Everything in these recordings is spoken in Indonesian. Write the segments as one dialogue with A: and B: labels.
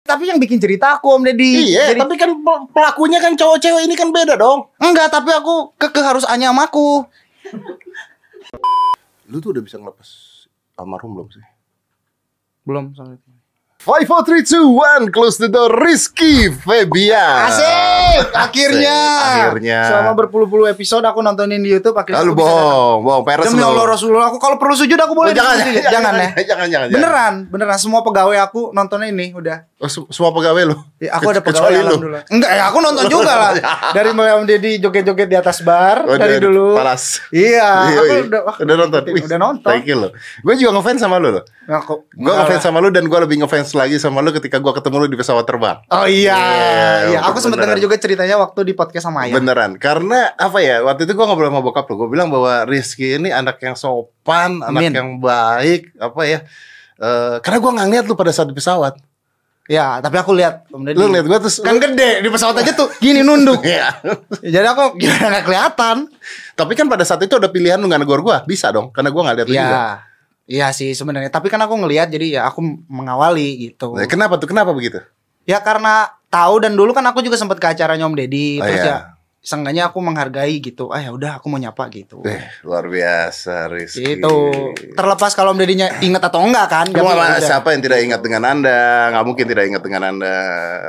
A: Tapi yang bikin cerita aku Om Deddy.
B: Iya,
A: Jadi-
B: tapi kan pel- pelakunya kan cowok cewek ini kan beda dong.
A: enggak, tapi aku keke harus Anya sama aku.
B: Lu tuh udah bisa ngelepas almarhum belum sih?
A: Belum soalnya.
B: Five, four, three, two, one, close the door. Rizky Febian.
A: Asik, akhirnya.
B: akhirnya.
A: Selama berpuluh-puluh episode aku nontonin di YouTube akhirnya.
B: Lalu
A: aku bisa datang.
B: bohong, bohong. Peres
A: Demi
B: lu.
A: Allah Rasulullah, aku kalau perlu sujud aku
B: Oh,
A: boleh.
B: jangan,
A: di sini. jangan ya.
B: Jangan, jangan, jangan.
A: Beneran, beneran semua pegawai aku nontonnya ini udah.
B: Oh, se- semua pegawai lu.
A: Ya, aku ada pegawai
B: Kecuali lu.
A: alhamdulillah. Enggak, ya aku nonton juga lah. Dari mulai Om Deddy joget-joget di atas bar
B: Oh,
A: dari
B: dia
A: dulu.
B: Palas.
A: Iya,
B: Iya,
A: aku
B: iya.
A: udah, wah,
B: udah nonton. Wih,
A: Udah nonton. Nah,
B: Thank you lo. Gue juga ngefans sama lu lo.
A: Aku,
B: Gue ngefans sama lu dan gue lebih ngefans lagi sama lu ketika gue ketemu lu di pesawat terbang.
A: Oh iya,
B: Iya,
A: iya. Aku sempat dengar
B: beneran.
A: juga ceritanya waktu di podcast sama Ayah.
B: Beneran. Karena apa ya? Waktu itu gue ngobrol sama bokap lu. Gue bilang bahwa Rizky ini anak yang sopan, anak
A: Amin.
B: yang baik, apa ya? Eh, karena gue nggak ngeliat lu pada saat di pesawat.
A: Ya, tapi aku lihat Om Deddy.
B: Lu liat gue terus.
A: kan gede di pesawat aja tuh gini nunduk.
B: Iya.
A: Jadi aku gimana nggak kelihatan.
B: Tapi kan pada saat itu ada pilihan lu nggak negor gue, bisa dong. Karena gue nggak liat lu juga.
A: Iya. Iya sih sebenarnya, tapi kan aku ngelihat jadi ya aku mengawali gitu.
B: Nah, Kenapa tuh? Kenapa begitu?
A: Ya karena tahu dan dulu kan aku juga sempat ke acaranya Om Deddy
B: Oh,
A: terus
B: iya.
A: ya seenggaknya aku menghargai gitu. Ah ya udah aku mau nyapa gitu.
B: Eh, luar biasa Rizky.
A: Gitu. Terlepas kalau Om Deddy-nya inget atau enggak kan.
B: Lu
A: tapi
B: sama
A: ya udah.
B: siapa yang tidak ingat dengan Anda? Nggak mungkin tidak ingat dengan Anda.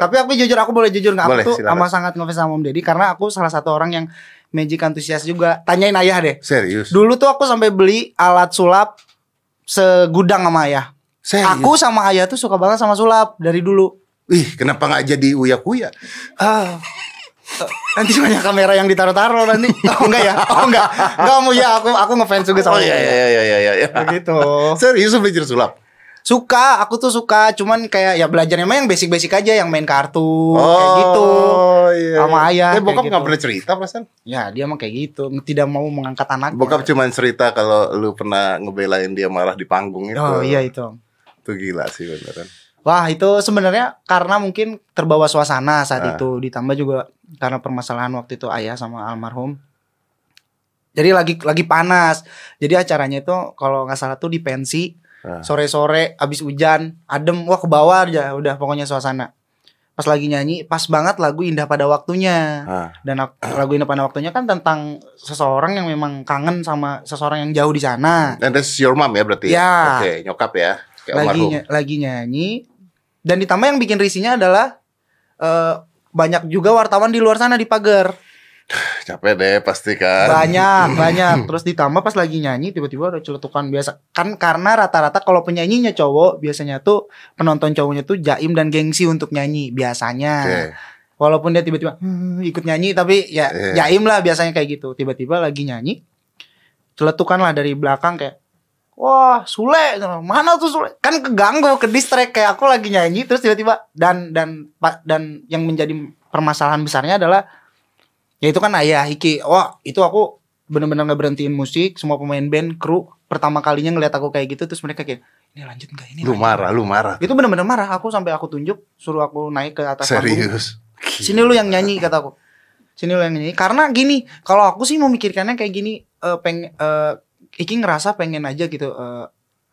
A: Tapi aku jujur aku boleh jujur nggak? Aku
B: Eh. Boleh,
A: tuh
B: silakan.
A: sama sangat ngefans sama Om Deddy karena aku salah satu orang yang magic antusias juga. Tanyain ayah deh.
B: Serius?
A: Dulu tuh aku sampai beli alat sulap segudang sama ayah.
B: Serius?
A: Aku sama ayah tuh suka banget sama sulap dari dulu.
B: Ih, kenapa nggak jadi uya-kuya?
A: Ah. nanti banyak kamera yang ditaruh-taruh nanti. Oh enggak ya? Oh enggak. Enggak mau ya aku aku ngefans juga sama
B: Oh iya
A: ayah.
B: iya iya iya iya.
A: Begitu.
B: Serius lu belajar sulap?
A: Suka, aku tuh suka, cuman kayak ya belajarnya mah yang basic-basic aja, yang main kartu kayak gitu.
B: Oh, iya.
A: Sama ayah,
B: Eh, bokap
A: kayak
B: nggak
A: gitu.
B: pernah cerita perasaan.
A: Ya, dia mah kayak gitu, tidak mau mengangkat anak.
B: Bokap cuma cerita kalau lu pernah ngebelain dia marah di panggung itu.
A: Oh iya itu.
B: Itu gila sih beneran.
A: Wah itu sebenarnya karena mungkin terbawa suasana saat
B: Ah.
A: itu ditambah juga karena permasalahan waktu itu ayah sama almarhum. Jadi lagi lagi panas. Jadi acaranya itu kalau nggak salah tuh di pensi
B: Ah.
A: sore-sore abis hujan adem wah ke bawah aja udah pokoknya suasana. Pas lagi nyanyi pas banget lagu Indah pada waktunya
B: Ah.
A: dan ak- lagu Indah pada waktunya kan tentang seseorang yang memang kangen sama seseorang yang jauh di sana.
B: And that's your mom ya berarti?
A: Ya.
B: Oke, nyokap ya. Kayak
A: lagi
B: almarhum.
A: ny- lagi nyanyi dan ditambah yang bikin risinya adalah eh, banyak juga wartawan di luar sana di pagar
B: Capek deh pasti kan.
A: banyak banyak terus ditambah pas lagi nyanyi tiba-tiba ada celetukan biasa kan karena rata-rata kalau penyanyinya cowok biasanya tuh penonton cowoknya tuh jaim dan gengsi untuk nyanyi biasanya
B: Oke.
A: walaupun dia tiba-tiba "Hmm," ikut nyanyi tapi ya
B: Iya.
A: jaim lah biasanya kayak gitu tiba-tiba lagi nyanyi celetukan lah dari belakang kayak wah Sule gitu. mana tuh Sule kan keganggu ke distract kayak aku lagi nyanyi terus tiba-tiba dan dan pa- dan yang menjadi permasalahan besarnya adalah ya itu kan ayah Hiki wah itu aku bener-bener nggak berhentiin musik semua pemain band kru pertama kalinya ngeliat aku kayak gitu terus mereka kayak ini lanjut nggak ini
B: Lu
A: lanjut
B: marah, lu marah.
A: nggak?" itu bener-bener marah aku sampai aku tunjuk suruh aku naik ke atas panggung
B: Serius.
A: sini lu yang nyanyi kata aku sini lu yang nyanyi karena gini kalau aku sih memikirkannya kayak gini eh peng eh, Iki ngerasa pengen aja gitu eh,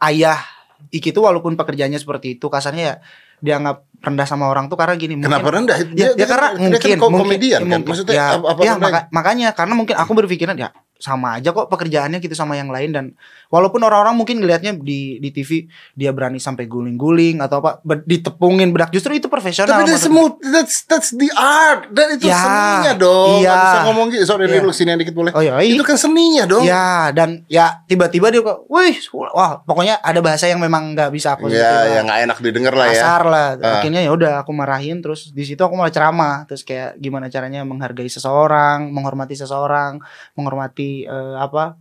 A: ayah Iki tuh walaupun pekerjaannya seperti itu kasarnya ya dianggap rendah sama orang tuh karena gini mungkin
B: Kenapa rendah?
A: ya, ya karena
B: kan-
A: mungkin,
B: dia kan
A: mungkin-
B: komedian
A: ya,
B: kan.
A: mungkin.
B: Maksudnya
A: ya,
B: apa, apa
A: ya,
B: rendahnya?
A: maka- makanya karena mungkin aku berpikiran ya sama aja kok pekerjaannya gitu sama yang lain dan walaupun orang-orang mungkin ngelihatnya di di TV dia berani sampai guling-guling atau apa ber- ditepungin bedak justru itu profesional
B: Tapi that's
A: maksudnya.
B: smooth, that's that's the art. Dan itu
A: Ya,
B: seninya dong. Nggak
A: iya.
B: bisa ngomong gitu. Sorry,
A: Iya.
B: lu sini dikit boleh.
A: Oh, iya.
B: Itu kan seninya dong.
A: Ya dan ya tiba-tiba dia kok, wih, wah pokoknya ada bahasa yang memang nggak bisa aku
B: Ya,
A: sebutin lah.
B: yang nggak enak didengar lah ya.
A: kasar lah.
B: Ah.
A: Akhirnya ya udah aku marahin terus di situ aku malah ceramah terus kayak gimana caranya menghargai seseorang, menghormati seseorang, menghormati eh, apa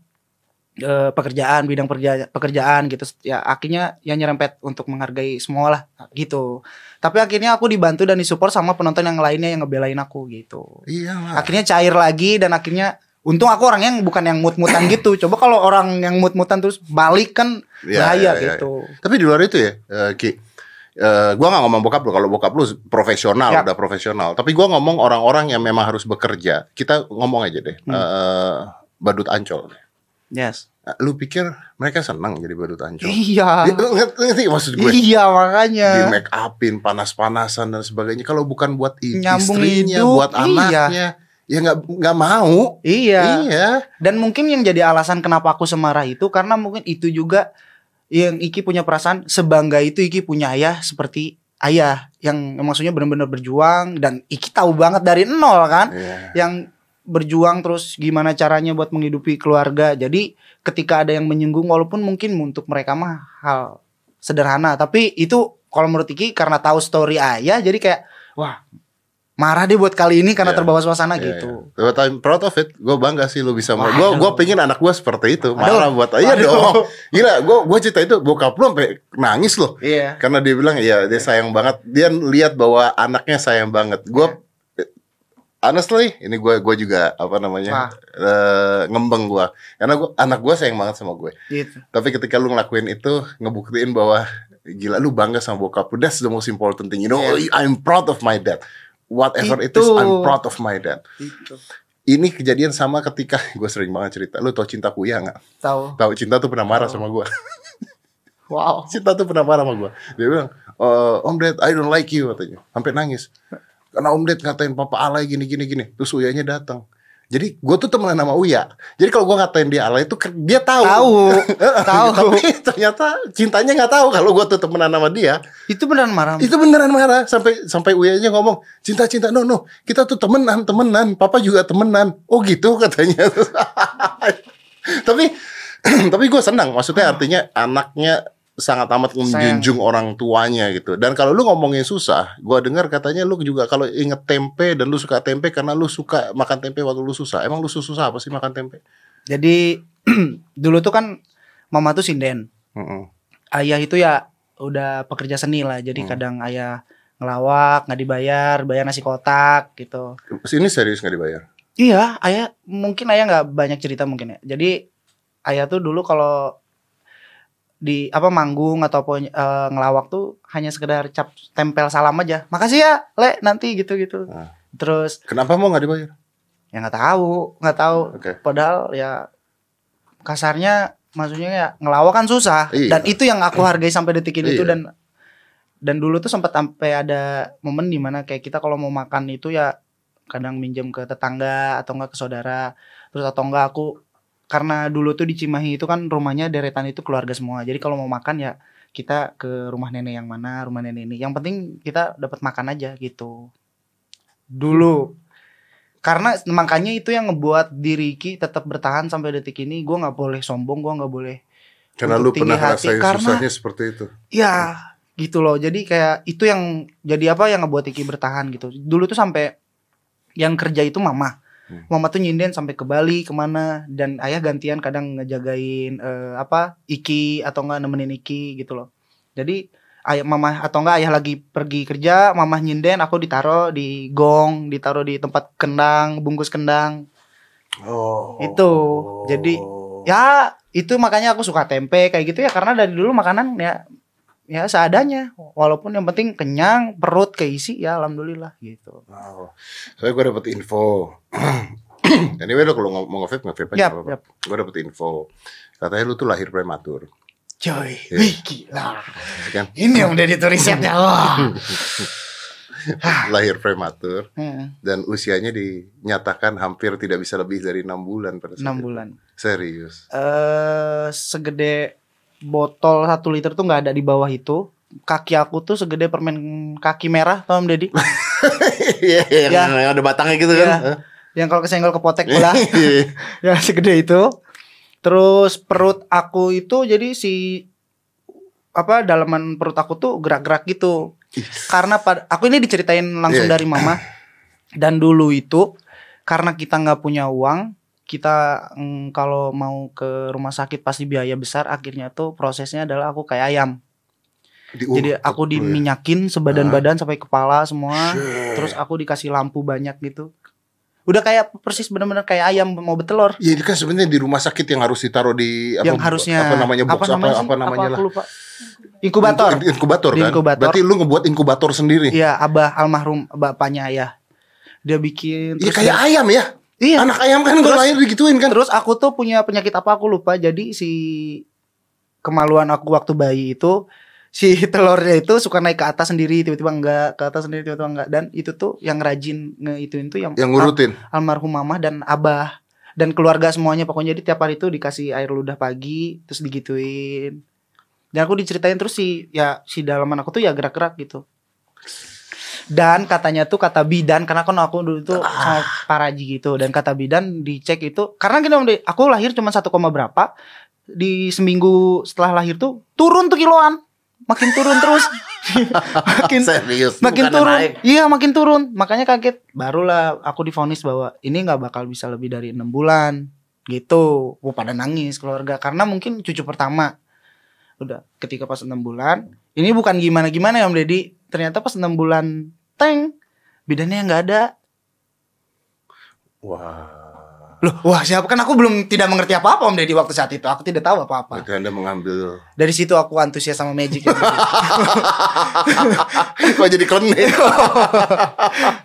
A: eh, pekerjaan bidang perja- pekerjaan gitu. Ya akhirnya ya nyerempet untuk menghargai semua lah gitu. Tapi akhirnya aku dibantu dan disupport sama penonton yang lainnya yang ngebelain aku gitu
B: Iya lah.
A: akhirnya cair lagi dan akhirnya untung aku orang yang bukan yang mut-mutan gitu coba kalau orang yang mut-mutan terus balik kan
B: Iya,
A: bahaya
B: iya, iya.
A: gitu
B: Tapi di luar itu ya, eh, Ki. Eh, gua nggak ngomong bokap lu kalau bokap lu profesional
A: Ya.
B: udah profesional. Tapi gua ngomong orang-orang yang
A: Hmm.
B: memang harus bekerja. Kita ngomong aja deh. Eh, badut ancol.
A: yes
B: lu pikir mereka senang jadi badut ancol?
A: Iya.
B: Ya, Lu ngerti, lu ngerti maksud gue?
A: Iya makanya.
B: Di make upin, panas-panasan dan sebagainya. Kalau bukan buat i-
A: Nyambung
B: istrinya,
A: hidup,
B: buat
A: iya.
B: anaknya, ya nggak nggak mau.
A: Iya.
B: Iya.
A: Dan mungkin yang jadi alasan kenapa aku semarah itu karena mungkin itu juga yang Iki punya perasaan sebangga itu Iki punya ayah seperti ayah yang maksudnya benar-benar berjuang dan Iki tahu banget dari nol kan
B: Iya.
A: yang berjuang terus gimana caranya buat menghidupi keluarga. Jadi ketika ada yang menyinggung walaupun mungkin untuk mereka mah hal sederhana tapi itu kalau menurut Iki karena tahu story ayah jadi kayak wah marah deh buat kali ini karena
B: Iya.
A: terbawa suasana
B: Iya,
A: gitu.
B: iya. But I'm proud of it. Gue bangga sih lu bisa.
A: Waduh.
B: Gue gue pengen anak gue seperti itu. Marah buat
A: Aduh.
B: iya dong. Gila, gue gue cerita itu bokap lu sampai nangis loh.
A: Iya.
B: Karena dia bilang ya dia sayang banget. Dia lihat bahwa anaknya sayang banget. Gue honestly ini gue gue juga apa
A: Ah.
B: namanya eh, ngembeng gue. Karena gua, anak gue sayang banget sama gue.
A: Gitu.
B: Tapi ketika lu ngelakuin itu ngebuktiin bahwa gila lu bangga sama bokap lu. That's the most important thing. You know,
A: Iya.
B: I'm proud of my dad. Whatever it
A: Itu.
B: is, I'm proud of my dad
A: Gitu.
B: ini kejadian sama ketika gue sering banget cerita lu tau cinta kuya nggak
A: Tahu.
B: tahu cinta tuh pernah marah sama gue
A: Wow.
B: cinta tuh pernah marah sama gue dia bilang "Eh, om ded I don't like you katanya sampai nangis karena om ded ngatain papa alay gini gini gini terus uyanya datang jadi gue tuh temenan sama Uya. Jadi kalau gue ngatain dia alay itu ke- dia tahu.
A: Tahu. Tahu.
B: Tapi ternyata cintanya nggak tahu kalau gue tuh temenan sama dia.
A: Itu beneran marah.
B: Itu beneran marah sampai sampai Uyanya ngomong cinta cinta no no kita tuh temenan temenan papa juga temenan oh gitu katanya tapi tapi gue senang maksudnya artinya anaknya sangat amat
A: Sayang.
B: menjunjung orang tuanya gitu dan kalau lu ngomongin susah gue dengar katanya lu juga kalau inget tempe dan lu suka tempe karena lu suka makan tempe waktu lu susah emang lu susah apa sih makan tempe
A: Jadi dulu tuh kan mama tuh sinden.
B: Mm-mm.
A: Ayah itu ya udah pekerja seni lah. Jadi
B: Hmm.
A: kadang ayah ngelawak, nggak dibayar, bayar nasi kotak gitu.
B: ini serius nggak dibayar
A: Iya, ayah mungkin ayah nggak banyak cerita mungkin ya. Jadi ayah tuh dulu kalau di apa manggung ataupun eh, ngelawak tuh hanya sekedar cap tempel salam aja. Makasih ya, Le, nanti gitu-gitu.
B: Ah.
A: Terus
B: kenapa mau nggak dibayar
A: ya nggak tahu, nggak tahu
B: oke
A: Padahal ya kasarnya maksudnya ya ngelawak kan susah
B: Iya.
A: dan itu yang aku hargai sampai detik ini
B: Iya.
A: tuh dan dan dulu tuh sempat sampai ada momen dimana kayak kita kalau mau makan itu ya kadang minjem ke tetangga atau enggak ke saudara terus atau enggak aku karena dulu tuh di Cimahi itu kan rumahnya deretan itu keluarga semua jadi kalau mau makan ya kita ke rumah nenek yang mana rumah nenek ini yang penting kita dapat makan aja gitu dulu karena makanya itu yang ngebuat diri Ki tetap bertahan sampai detik ini gue nggak boleh sombong gue nggak boleh
B: karena
A: Untuk
B: lu pernah
A: tinggi hati,
B: ngerasain
A: karena-
B: susahnya seperti itu
A: ya gitu loh jadi kayak itu yang jadi apa yang ngebuat Iki bertahan gitu dulu tuh sampai yang kerja itu mama
B: Hmm.
A: mama tuh nyinden sampai ke Bali kemana dan ayah gantian kadang ngejagain eh, apa Iki atau enggak nemenin Iki gitu loh jadi ayah mama atau enggak ayah lagi pergi kerja mama nyinden aku ditaro di gong ditaro di tempat kendang bungkus kendang
B: oh
A: Itu. Jadi, ya itu makanya aku suka tempe kayak gitu ya karena dari dulu makanan ya ya seadanya walaupun yang penting kenyang perut keisi ya alhamdulillah gitu
B: Wow. Soalnya gue dapet info. anyway lo kalau ngom- mau nge-vape nge-vape aja
A: Yap,
B: apa-apa.
A: yap.
B: Gue dapet info. Katanya lu tuh lahir prematur.
A: coy
B: Iya.
A: wih, gila
B: Kan?
A: ini yang udah itu risetnya wah
B: lahir prematur
A: Hmm,
B: dan usianya dinyatakan hampir tidak bisa lebih dari 6 bulan pada saat
A: enam
B: itu.
A: bulan
B: Serius.
A: eh segede botol satu liter tuh nggak ada di bawah itu kaki aku tuh segede permen kaki merah tau Om Deddy
B: Iya, iya,
A: Ya.
B: yang ada batangnya gitu
A: Iya.
B: kan.
A: yang kalau kesenggol kepotek
B: Iya.
A: pula ya segede itu terus perut aku itu jadi si apa dalaman perut aku tuh gerak-gerak gitu karena pad- aku ini diceritain langsung
B: Iya, iya.
A: dari mama dan dulu itu karena kita nggak punya uang kita mm, kalau mau ke rumah sakit pasti biaya besar akhirnya tuh prosesnya adalah aku kayak ayam
B: Diurut
A: jadi aku
B: tuh ya.
A: diminyakin sebadan-badan sampai kepala semua
B: Shit.
A: terus aku dikasih lampu banyak gitu udah kayak persis bener-bener kayak ayam mau betelor
B: Ya ini kan sebenarnya di rumah sakit yang harus ditaruh di apa,
A: yang harusnya
B: apa namanya box apa apa,
A: sih?
B: namanya
A: aku
B: lah
A: lupa. inkubator
B: Inku- inkubator
A: Di
B: kan
A: inkubator.
B: berarti lu ngebuat inkubator sendiri
A: iya abah almarhum bapaknya ayah dia bikin
B: Iya
A: terus
B: kayak
A: dia-
B: ayam ya
A: Iya.
B: Anak ayam kan gue
A: Terus-
B: lahir digituin kan.
A: Terus aku tuh punya penyakit apa aku lupa. Jadi si kemaluan aku waktu bayi itu si telurnya itu suka naik ke atas sendiri tiba-tiba enggak ke atas sendiri tiba-tiba enggak dan itu tuh yang rajin ngeituin tuh yang,
B: Yang ngurutin.
A: al- almarhum mamah dan abah dan keluarga semuanya pokoknya jadi tiap hari tuh dikasih air ludah pagi terus digituin dan aku diceritain terus si ya si dalaman aku tuh ya gerak-gerak gitu dan katanya tuh kata bidan karena kan aku dulu tuh sama paraji gitu dan kata bidan dicek itu karena gini Om Ded, aku lahir cuma satu koma berapa di seminggu setelah lahir tuh turun tuh kiloan makin turun terus makin
B: Serius.
A: makin
B: bukan
A: turun
B: naik.
A: iya makin turun makanya kaget barulah aku divonis bahwa ini nggak bakal bisa lebih dari enam bulan gitu Wah, pada nangis keluarga karena mungkin cucu pertama udah ketika pas enam bulan ini bukan gimana gimana ya om deddy ternyata pas enam bulan teng bidannya nggak ada
B: Wah.
A: loh wah siapa kan aku belum tidak mengerti apa apa om deddy waktu saat itu aku tidak tahu apa apa
B: Berarti anda mengambil.
A: dari situ aku antusias sama magic ya, Om Deddy.
B: Kok jadi klinik?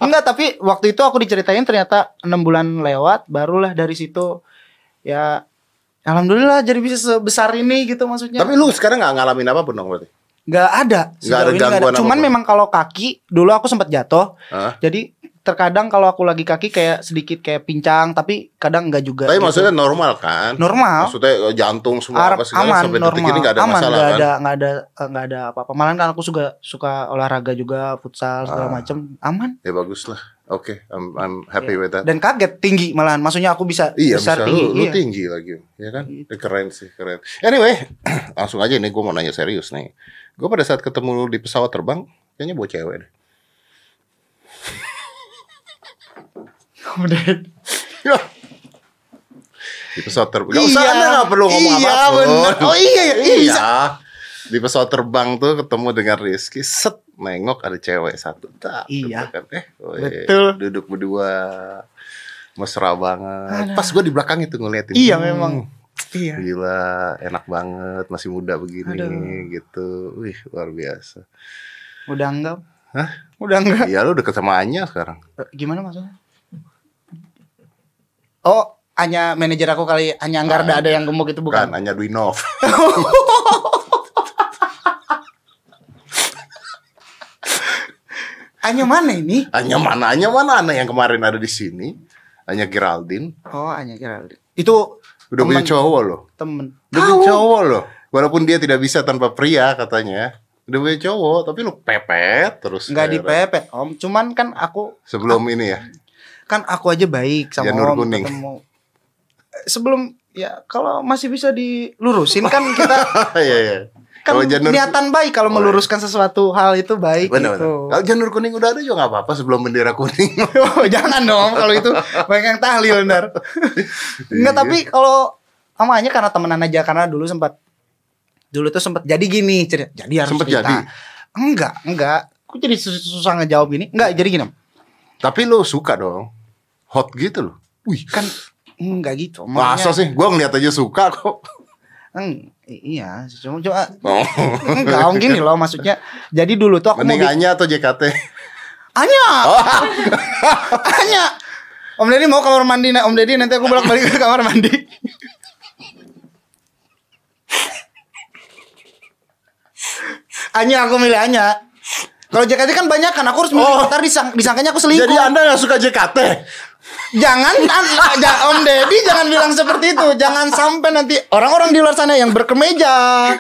A: Enggak tapi waktu itu aku diceritain ternyata enam bulan lewat barulah dari situ ya alhamdulillah jadi bisa sebesar ini gitu maksudnya.
B: Tapi lu sekarang nggak ngalamin apapun dong berarti?
A: nggak ada. sejauh
B: ada
A: ini nggak
B: gangguan
A: Cuman
B: apapun.
A: memang kalau kaki dulu aku sempat jatuh.
B: Hah?
A: Jadi terkadang kalau aku lagi kaki kayak sedikit kayak pincang tapi kadang enggak juga.
B: Tapi
A: gitu.
B: maksudnya normal kan?
A: normal.
B: Maksudnya jantung semua
A: Arab
B: apa segala
A: aman
B: sampai detik
A: normal
B: ini nggak ada
A: aman
B: masalah
A: nggak
B: kan?
A: ada nggak ada eh, nggak ada apa-apa malah kan aku juga suka olahraga juga futsal segala
B: Ah.
A: macam aman
B: Ya bagus lah. Oke, I'm, I'm happy with that.
A: dan kaget tinggi malahan maksudnya aku bisa
B: Iya,
A: besar
B: bisa
A: tinggi
B: lu, lu
A: iya.
B: tinggi lagi, ya kan?
A: Gitu.
B: Ya, Keren sih, keren. Anyway, langsung aja nih gue mau nanya serius nih. Gue pada saat ketemu lu di pesawat terbang, kayaknya bawa cewek deh.
A: Udah.
B: Iya. Di pesawat terbang. Gak
A: Iya.
B: usah, anda gak perlu ngomong
A: Iya,
B: apapun.
A: bener. Oh, iya, iya,
B: iya.
A: bisa.
B: Di pesawat terbang tuh ketemu dengan Rizky, set nengok ada cewek satu. Tak,
A: Iya.
B: gitu kan. Eh, weh,
A: Betul.
B: Duduk berdua. Mesra banget. Pas gue di belakang itu ngeliatin.
A: Iya
B: Hmm,
A: memang. Iya.
B: Gila, enak banget, masih muda begini
A: Aduh.
B: gitu. Wih, luar biasa.
A: Udah enggak?
B: Hah?
A: Udah enggak?
B: Iya, lu deket sama Anya sekarang.
A: Eh, Gimana maksudnya? Oh, hanya manajer aku kali hanya Anggarda ada yang gemuk itu
B: Ah, iya. Bukan,
A: bukan?
B: Kan, Anya Dwinov.
A: Hanya mana ini?
B: Anya mana? Anya mana? Anya yang kemarin ada di sini. Anya Geraldine.
A: Oh, hanya kira itu
B: Udah punya
A: Temen.
B: cowok loh.
A: temen.
B: Udah punya cowok loh. Walaupun dia tidak bisa tanpa pria katanya. Udah punya cowok, tapi lu pepet terus.
A: Enggak
B: Heran.
A: dipepet, Om. Cuman kan aku
B: Sebelum ini ya.
A: kan aku aja baik sama Om
B: Janur Iya, kuning.
A: ketemu. Eh, Sebelum ya kalau masih bisa dilurusin kan kita
B: Iya, iya.
A: kan
B: Kalau janur-
A: niatan baik kalau
B: Oh, iya.
A: meluruskan sesuatu hal itu baik
B: Benar,
A: gitu.
B: benar. Kalau janur kuning udah ada juga nggak apa-apa sebelum bendera kuning.
A: Oh, jangan dong kalau itu banyak yang tahlil ntar. Enggak
B: Iya.
A: tapi kalau amanya karena temenan aja karena dulu sempat dulu tuh sempat jadi gini cerita. Jadi harus
B: Sempet
A: cerita.
B: jadi?
A: Enggak, enggak. Aku jadi sus- susah ngejawab ini. Enggak, jadi gini. Om.
B: tapi lu suka dong. Hot gitu loh. Wih,
A: Kan enggak gitu. Omanya-
B: masa sih? Gua ngeliat aja suka kok.
A: Eng- i- iya, cuma cuma
B: Oh.
A: enggak om gini loh maksudnya. Jadi dulu tuh aku mau
B: Mending
A: bikin-
B: Anya atau JKT?
A: Anya.
B: Oh.
A: Anya. Om Deddy mau kamar mandi nah. Om Deddy nanti aku bolak balik ke kamar mandi. Anya aku milih Anya. Kalau JKT kan banyak kan aku harus milih
B: Oh.
A: ntar disang- disangkanya aku selingkuh.
B: Jadi Anda nggak suka JKT?
A: Jangan an- ja- Om Deddy jangan bilang seperti itu. Jangan sampai nanti orang-orang di luar sana yang berkemeja,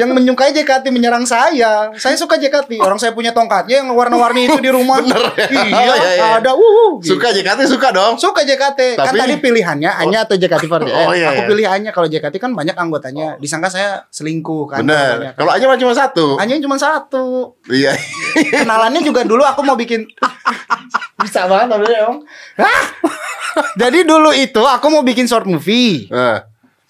A: yang menyukai JKT menyerang saya. Saya suka JKT. Orang saya punya tongkatnya yang warna-warni itu di rumah. Iya,
B: Oh, iya, iya.
A: ada. wuh, gitu.
B: Suka JKT suka dong.
A: Suka JKT. Kan
B: Tapi-
A: tadi pilihannya Anya atau JKT48.
B: Oh, iya,
A: eh, Aku
B: iya.
A: pilih Anya kalau JKT kan banyak anggotanya. Disangka saya selingkuh kan.
B: Bener. Kalau Anya mah cuma satu.
A: Anya cuma satu
B: Iya.
A: kenalannya juga dulu aku mau bikin bisa banget tapi ya, Om. Hah? Jadi dulu itu aku mau bikin short movie.
B: Eh,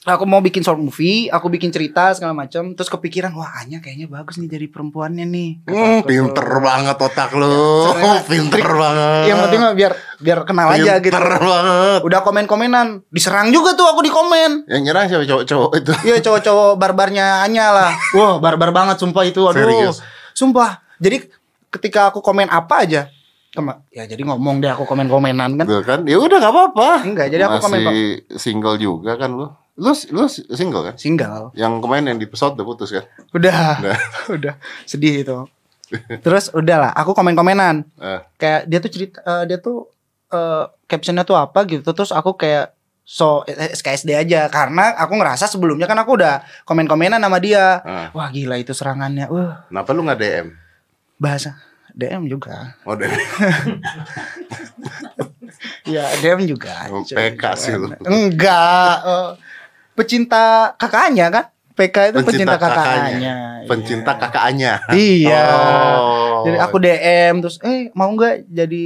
A: Aku mau bikin short movie, aku bikin cerita segala macam. Terus kepikiran, wah Anya kayaknya bagus nih jadi perempuannya nih.
B: hmm, pinter banget otak lu.
A: Soalnya-
B: Pinter banget.
A: Yang penting mah biar biar kenal
B: pinter
A: aja gitu.
B: banget.
A: Udah komen-komenan, diserang juga tuh aku di komen.
B: Yang nyerang siapa cowok-cowok itu?
A: Iya cowok-cowok barbarnya Anya lah. Wah barbar banget sumpah itu. Aduh.
B: Serius?
A: Sumpah. Jadi ketika aku komen apa aja, Kema- ya jadi ngomong deh aku komen-komenan kan.
B: Tuh kan? Ya udah nggak apa-apa.
A: Enggak, jadi aku komen, Pak.
B: Masih single juga kan lu. Lu lu single kan?
A: Single.
B: Yang kemarin yang di pesawat udah putus kan?
A: Udah.
B: Udah.
A: Udah. Sedih itu. Terus udahlah, aku komen-komenan.
B: Eh.
A: Kayak dia tuh cerita eh, dia tuh eh, captionnya tuh apa gitu. Terus aku kayak so eh, SKSD aja karena aku ngerasa sebelumnya kan aku udah komen-komenan sama dia.
B: Ah.
A: Wah, gila itu serangannya. Wah,
B: Kenapa lu nggak DM?
A: bahasa DM juga.
B: Oh, DM.
A: Iya. Ya, DM juga.
B: Oh,
A: Cuy.
B: PK sih lu.
A: Enggak. eh, pecinta kakaknya kan? PK itu pecinta,
B: Pencinta kakaknya.
A: kakaknya.
B: Pencinta
A: Iya.
B: kakaknya.
A: Iya.
B: Ah, Oh.
A: Jadi aku DM terus, eh mau nggak jadi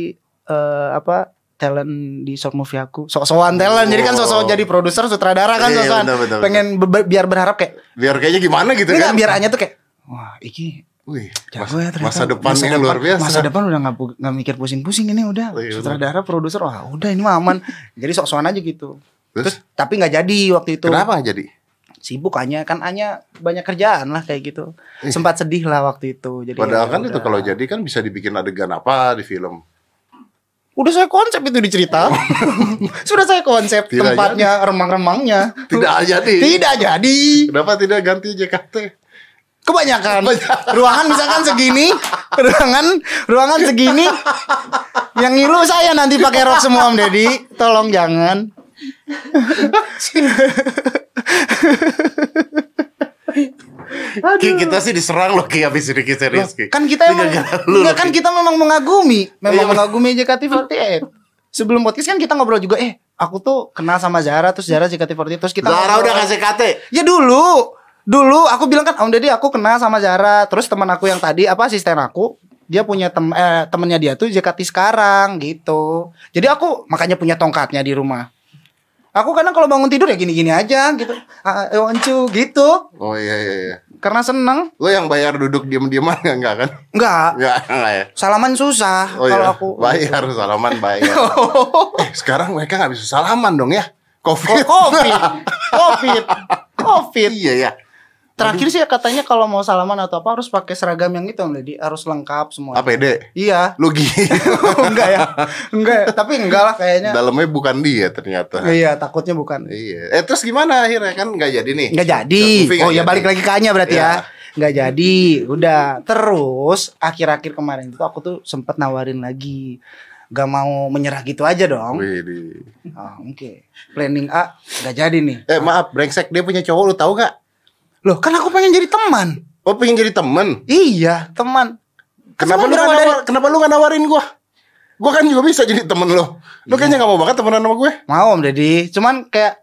A: eh, apa talent di short movie aku? Sok-sokan talent. Jadi kan sok-sokan
B: Oh.
A: jadi produser, sutradara kan
B: Iya, iya,
A: sok-sokan.
B: benar, benar, benar.
A: Pengen be- biar berharap kayak
B: biar kayaknya gimana gitu
A: enggak
B: kan?
A: biar Anya tuh kayak wah iki
B: Wih,
A: jago
B: mas-
A: ya ternyata.
B: masa depannya
A: depan-
B: luar biasa.
A: Masa depan udah nggak bu- nggak mikir pusing-pusing ini udah.
B: Iya, benar.
A: sutradara, produser, wah udah ini mah aman. jadi sok-sokan aja gitu.
B: Terus?
A: Terus, tapi nggak jadi waktu itu.
B: Kenapa nggak jadi?
A: Iya, Sibuk Anya kan Anya banyak kerjaan lah kayak gitu.
B: Ih.
A: Sempat sedih lah waktu itu. Jadi
B: Padahal
A: ya
B: kan itu
A: udah.
B: kalau jadi kan bisa dibikin adegan apa di film.
A: Udah saya konsep itu dicerita. Sudah saya konsep
B: Tidak
A: tempatnya, remang-remangnya.
B: Tidak jadi.
A: Tidak jadi.
B: Kenapa tidak ganti JKT?
A: Kebanyakan. Ruangan misalkan segini, ruangan ruangan segini. Yang ngilu saya nanti pakai rok semua Om Deddy. Tolong jangan.
B: Ki, kita sih diserang loh Ki habis ini kita Rizky.
A: Kan kita
B: Ini
A: emang
B: gara-gara lu
A: enggak,
B: loh,
A: kan
B: Ki.
A: kita memang mengagumi,
B: Iya,
A: memang
B: bener.
A: mengagumi JKT48. Sebelum podcast kan kita ngobrol juga eh aku tuh kenal sama Zara terus Zara JKT48 terus kita
B: Zara
A: ngobrol.
B: udah kasih KT.
A: Ya dulu, dulu aku bilang kan Om Deddy aku kenal sama Zara. Terus teman aku yang tadi apa asisten aku, dia punya tem eh, temennya dia tuh JKT sekarang gitu. Jadi aku makanya punya tongkatnya di rumah. Aku kadang kalau bangun tidur ya gini-gini aja gitu. Ah, I want you gitu.
B: Oh iya iya iya.
A: Karena seneng.
B: Lo yang bayar duduk diem-dieman enggak, enggak kan?
A: Enggak,
B: Enggak, enggak ya.
A: salaman susah
B: Oh
A: kalau
B: iya.
A: aku. Oh,
B: Bayar salaman bayar. Eh, sekarang mereka nggak bisa salaman dong ya. Covid.
A: Covid. Covid. Covid.
B: iya ya.
A: Terakhir sih ya katanya kalau mau salaman atau apa harus pakai seragam yang itu Om Deddy, harus lengkap semua.
B: APD.
A: Iya.
B: Ah, Lu gini.
A: enggak ya enggak ya. tapi enggak lah kayaknya
B: Dalamnya bukan dia ternyata.
A: iya takutnya bukan
B: Iya. Eh terus gimana akhirnya kan nggak jadi nih?
A: enggak jadi
B: Movie nggak
A: oh ya
B: jadi.
A: balik lagi ke Anya berarti
B: Iya.
A: ya enggak jadi udah terus akhir-akhir kemarin itu aku tuh sempet nawarin lagi Gak mau menyerah gitu aja dong
B: Widih.
A: oh, oke planning A enggak jadi nih
B: Eh maaf, brengsek dia punya cowok lu tahu gak?
A: loh kan aku pengen jadi teman
B: Oh pengen jadi temen.
A: iya teman Kan
B: Kenapa lu,
A: Semua
B: gak
A: berawal dari-
B: nawar- kenapa lu gak nawarin gua? Gua kan juga bisa jadi temen lu.
A: Hmm.
B: Lu kayaknya gak mau banget temenan sama gue.
A: Mau Om Deddy, cuman kayak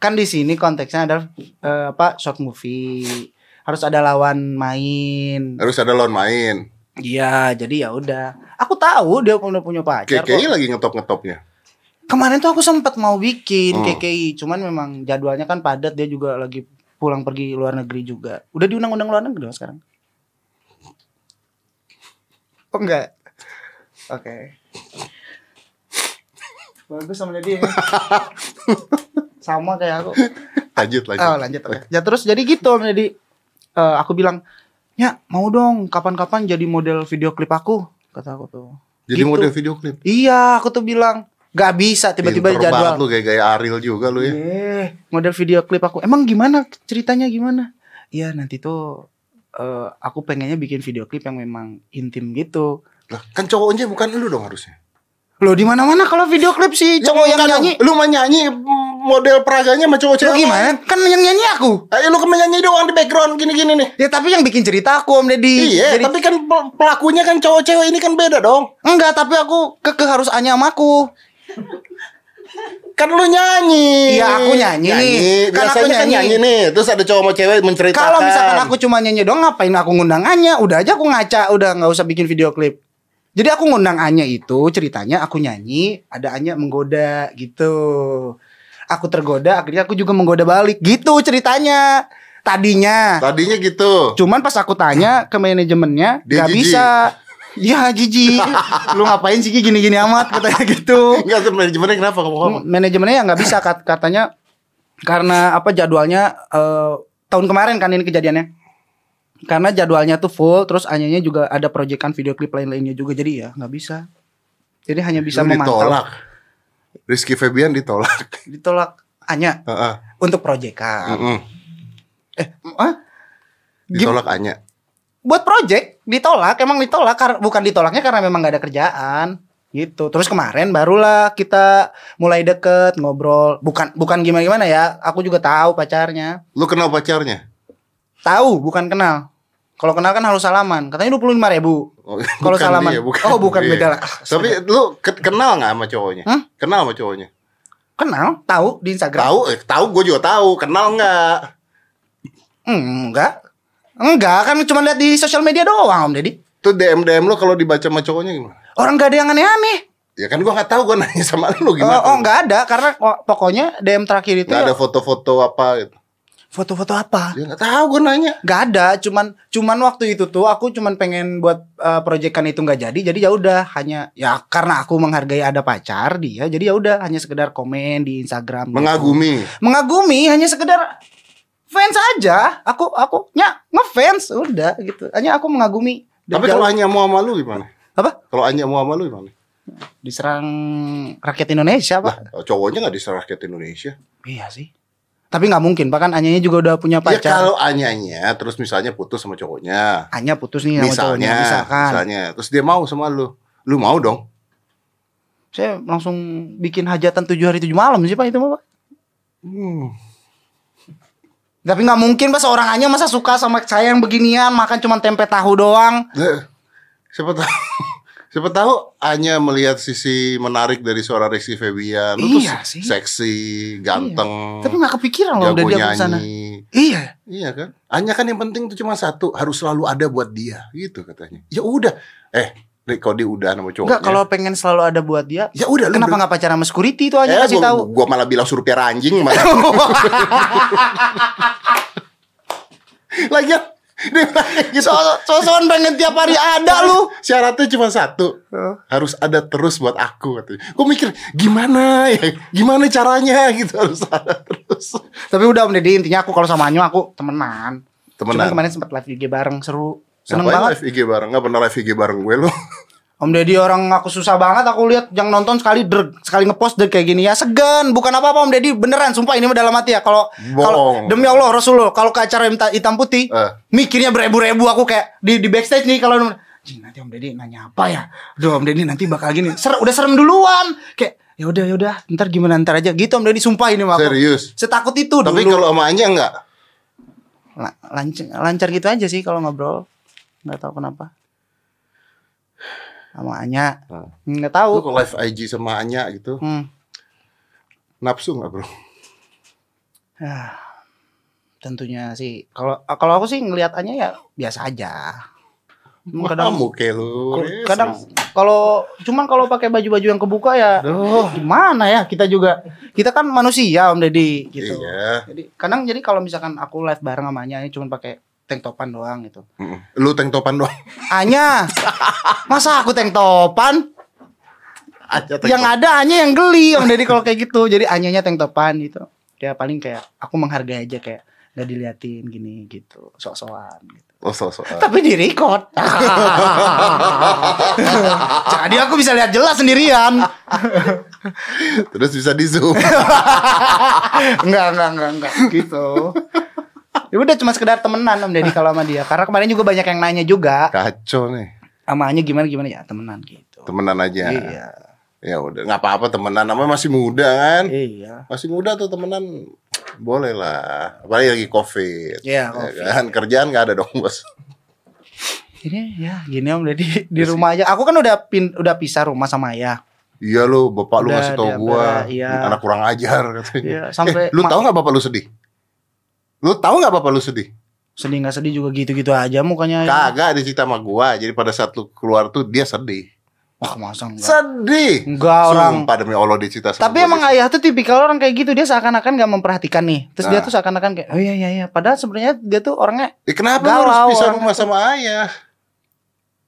A: kan di sini konteksnya adalah eh, apa short movie harus ada lawan main.
B: Harus ada lawan main.
A: Iya, jadi ya udah. Aku tahu dia udah punya pacar. kok.
B: KKI lagi ngetop-ngetopnya.
A: Kemarin tuh aku sempat mau bikin
B: Hmm.
A: KKI, cuman memang jadwalnya kan padat. Dia juga lagi pulang pergi luar negeri juga. Udah diundang-undang luar negeri dong sekarang. Oh enggak. Oke. Bagus sama Deddy ya. sama kayak aku.
B: Lanjut, Eh, lanjut.
A: Oh, lanjut. oke. Ya terus jadi gitu jadi eh, aku bilang, "Ya, mau dong kapan-kapan jadi model video klip aku." Kata aku tuh.
B: Jadi
A: Gitu.
B: model video klip.
A: Iya, aku tuh bilang, "Gak bisa tiba-tiba
B: Pinter banget
A: jadwal."
B: lu gaya-gaya Ariel juga lu ya.
A: Eh, model video klip aku. Emang gimana ceritanya gimana? Iya, nanti tuh eh, aku pengennya bikin video klip yang memang intim gitu.
B: Lah, kan cowoknya bukan lu dong harusnya.
A: Loh, di mana-mana kalau video klip sih cowok yang
B: bukan dong.
A: nyanyi.
B: Lu mah nyanyi mm, model peraganya sama cowok
A: Loh,
B: cewek.
A: gimana? Kan yang nyanyi aku.
B: Eh, lu kan nyanyi doang di background gini-gini nih.
A: Ya tapi yang bikin cerita aku Om Deddy.
B: Iya,
A: Jadi-
B: tapi kan pel- pelakunya kan cowok cewek ini kan beda dong.
A: enggak, tapi aku keke harus Anya sama aku.
B: Kan lu nyanyi.
A: Iya, aku nyanyi. Kan
B: Biasanya
A: aku
B: kan
A: nyanyi.
B: nyanyi nih. Terus ada cowok sama cewek menceritakan.
A: Kalau misalkan aku cuma nyanyi doang ngapain aku ngundang Anya? Udah aja aku ngaca, udah nggak usah bikin video klip. Jadi aku ngundang Anya itu ceritanya aku nyanyi, ada Anya menggoda gitu. Aku tergoda, akhirnya aku juga menggoda balik gitu ceritanya. Tadinya.
B: Tadinya gitu.
A: Cuman pas aku tanya ke manajemennya,
B: Dia
A: nggak
B: jijik.
A: bisa. Ya jijik Lu ngapain sih Ki, gini-gini amat katanya gitu.
B: Enggak tuh manajemennya kenapa kamu ngomong?
A: manajemennya ya nggak bisa kat- katanya karena apa jadwalnya eh, tahun kemarin kan ini kejadiannya karena jadwalnya tuh full terus anyanya juga ada proyekan video klip lain-lainnya juga jadi ya nggak bisa Jadi hanya bisa
B: Lu
A: memantau.
B: ditolak. Rizky Febian ditolak.
A: Ditolak hanya
B: Heeh.
A: untuk proyekan. Eh,
B: Mm-mm.
A: Hah? Gim-
B: Hmm. Ditolak Anya.
A: buat project ditolak emang ditolak kar- bukan ditolaknya karena memang gak ada kerjaan gitu terus kemarin barulah kita mulai deket ngobrol bukan bukan gimana gimana ya aku juga tahu pacarnya
B: Lu kenal pacarnya?
A: tahu bukan kenal kalau kenal kan harus salaman katanya 25.000 ribu
B: Oh,
A: kalau
B: bukan
A: salaman
B: dia,
A: oh bukan
B: Iya.
A: beda lah
B: Tapi lu ke- kenal nggak sama cowoknya?
A: Hah?
B: Kenal sama cowoknya?
A: kenal tahu di Instagram
B: Tahu, eh, tahu gue juga tahu. Kenal nggak?
A: Hmm, enggak enggak kan cuma lihat di sosial media doang om deddy
B: Tuh DM DM lu kalau dibaca sama cowoknya gimana?
A: orang gak ada yang aneh-aneh
B: Ya kan gua nggak tahu gua nanya sama lu
A: oh,
B: gimana.
A: oh enggak ada karena oh, pokoknya DM terakhir itu
B: Nggak
A: ya,
B: ada foto-foto apa gitu.
A: foto-foto apa
B: Ya nggak tahu gua nanya.
A: Gak ada, cuman cuman waktu itu tuh aku cuman pengen buat eh, proyekan itu nggak jadi, jadi ya udah hanya ya karena aku menghargai ada pacar dia, jadi ya udah hanya sekedar komen di Instagram. gitu.
B: Mengagumi.
A: Mengagumi hanya sekedar fans aja. Aku aku nya ngefans udah gitu. Hanya aku mengagumi. Dari
B: Tapi
A: jauh.
B: kalau Anya mau sama lu gimana?
A: apa?
B: Kalau Anya mau sama lu gimana?
A: Diserang rakyat Indonesia,
B: Lah,
A: Pak?
B: cowoknya nggak diserah rakyat Indonesia.
A: Iya sih. Tapi nggak mungkin, bahkan Anyanya juga udah punya
B: Ya
A: pacar.
B: kalau Anyanya terus misalnya putus sama cowoknya.
A: Anya putus nih Iya, sama
B: misalnya,
A: cowoknya, kan? misalkan.
B: misalnya, terus dia mau sama lu, lu mau dong?
A: Saya langsung bikin hajatan tujuh hari tujuh malam sih, Pak, itu Pak. Hmm. Tapi nggak mungkin pas orang aja masa suka sama saya yang beginian makan cuma tempe tahu doang.
B: Lah, Eh, Siapa tahu, siapa tahu hanya melihat sisi menarik dari suara Rizky Febian, lu
A: Iya
B: tuh
A: sih. Iya.
B: seksi, ganteng,
A: Tapi nggak kepikiran loh udah
B: jago
A: dia ke sana.
B: nyanyi.
A: Iya.
B: Iya kan? Hanya kan yang penting tuh cuma satu, harus selalu ada buat dia, gitu katanya. Ya udah, eh, Rik, kok dia udah sama cowoknya?
A: Enggak kalau pengen selalu ada buat dia.
B: ya udah, lu
A: Kenapa
B: ber-
A: nggak pacaran sama security itu aja
B: Eh,
A: kasih
B: gua,
A: tahu?
B: gua malah bilang suruh piara anjing malah. Lagian ya? dia bilang gitu.
A: Sosokan pengen tiap hari ada lu.
B: Syaratnya cuma satu Harus ada terus buat aku katanya. Gue mikir gimana ya Gimana caranya gitu Harus ada terus
A: Tapi udah Om Deddy intinya aku kalau sama Anyo aku temenan. Cuman
B: Temenan
A: kemarin sempat live IG bareng seru. Seneng banget.
B: Ngapain live IG bareng Gak pernah live IG bareng gue lo
A: Om Deddy orang aku susah banget aku lihat yang nonton sekali dreg, sekali ngepost dreg kayak gini ya segan bukan apa-apa Om Deddy beneran sumpah ini mah dalam hati ya kalau kalau
B: Bohong.
A: demi Allah Rasulullah kalau ke acara hitam, hitam putih
B: Eh.
A: mikirnya beribu-ribu aku kayak di di backstage nih kalau "Jing, nanti Om Deddy nanya apa ya Duh Om Deddy nanti bakal gini Ser, udah serem duluan kayak ya udah ya udah ntar gimana ntar aja gitu Om Deddy sumpah ini mah aku.
B: Serius
A: setakut itu
B: Tapi
A: dulu
B: kalau sama Anya enggak
A: La- lancar lancar gitu aja sih kalau ngobrol nggak tahu kenapa sama Anya
B: Nah.
A: nggak
B: Lu
A: tahu
B: kalau live IG sama Anya gitu
A: hmm.
B: Nafsu gak bro
A: Ah, tentunya sih kalau kalau aku sih ngelihatannya ya biasa aja Emang kadang
B: Kamu kayak lu Yes,
A: kadang
B: yes.
A: kalau cuman kalau pakai baju-baju yang kebuka ya
B: Aduh
A: gimana ya kita juga kita kan manusia om deddy gitu
B: Iya
A: jadi kadang jadi kalau misalkan aku live bareng sama Anya cuman pakai tank topan doang gitu
B: Mm-mm. Lu tank topan doang
A: Anya masa aku tank topan
B: Anya tank
A: yang
B: topan.
A: ada hanya yang geli om deddy kalau kayak gitu jadi anyanya tank topan gitu dia paling kayak aku menghargai aja kayak nggak diliatin gini gitu sok-sokan gitu.
B: Oh so, so.
A: tapi di record jadi aku bisa lihat jelas sendirian
B: Terus bisa di zoom
A: enggak enggak enggak enggak gitu ya udah cuma sekedar temenan om deddy kalau sama dia karena kemarin juga banyak yang nanya juga
B: Kacau nih
A: sama Anya gimana gimana ya temenan gitu
B: Temenan aja
A: iya
B: Ya udah nggak apa-apa temenan namanya masih muda kan
A: iya
B: Masih muda tuh temenan Boleh lah Apalagi lagi covid
A: Iya,
B: Ya
A: covid.
B: kan? Kerjaan nggak ada dong bos
A: ini ya gini om deddy di rumah aja aku kan udah pin udah pisah rumah sama ayah
B: Iya lu bapak lu
A: Udah,
B: ngasih tau
A: dia
B: gua
A: ber- iya.
B: Anak kurang ajar katanya
A: Iya, sampai-
B: eh, Lu
A: ma-
B: tahu nggak bapak lu sedih? Lu tahu nggak bapak lu sedih?
A: sedih nggak sedih juga gitu-gitu aja mukanya
B: Kagak dicita sama gua Jadi pada saat lu keluar tuh dia sedih
A: wah masa enggak
B: Sedih
A: enggak orang
B: Sumpah demi Allah dicita sama
A: tapi
B: gua,
A: emang
B: dia
A: ayah tuh tipikal orang kayak gitu dia seakan-akan nggak memperhatikan nih terus dia
B: Nah.
A: tuh seakan-akan kayak oh iya iya iya padahal sebenarnya dia tuh orangnya
B: sedih. Eh, Kenapa lu
A: galau
B: harus pisah
A: orang
B: rumah sama ayah?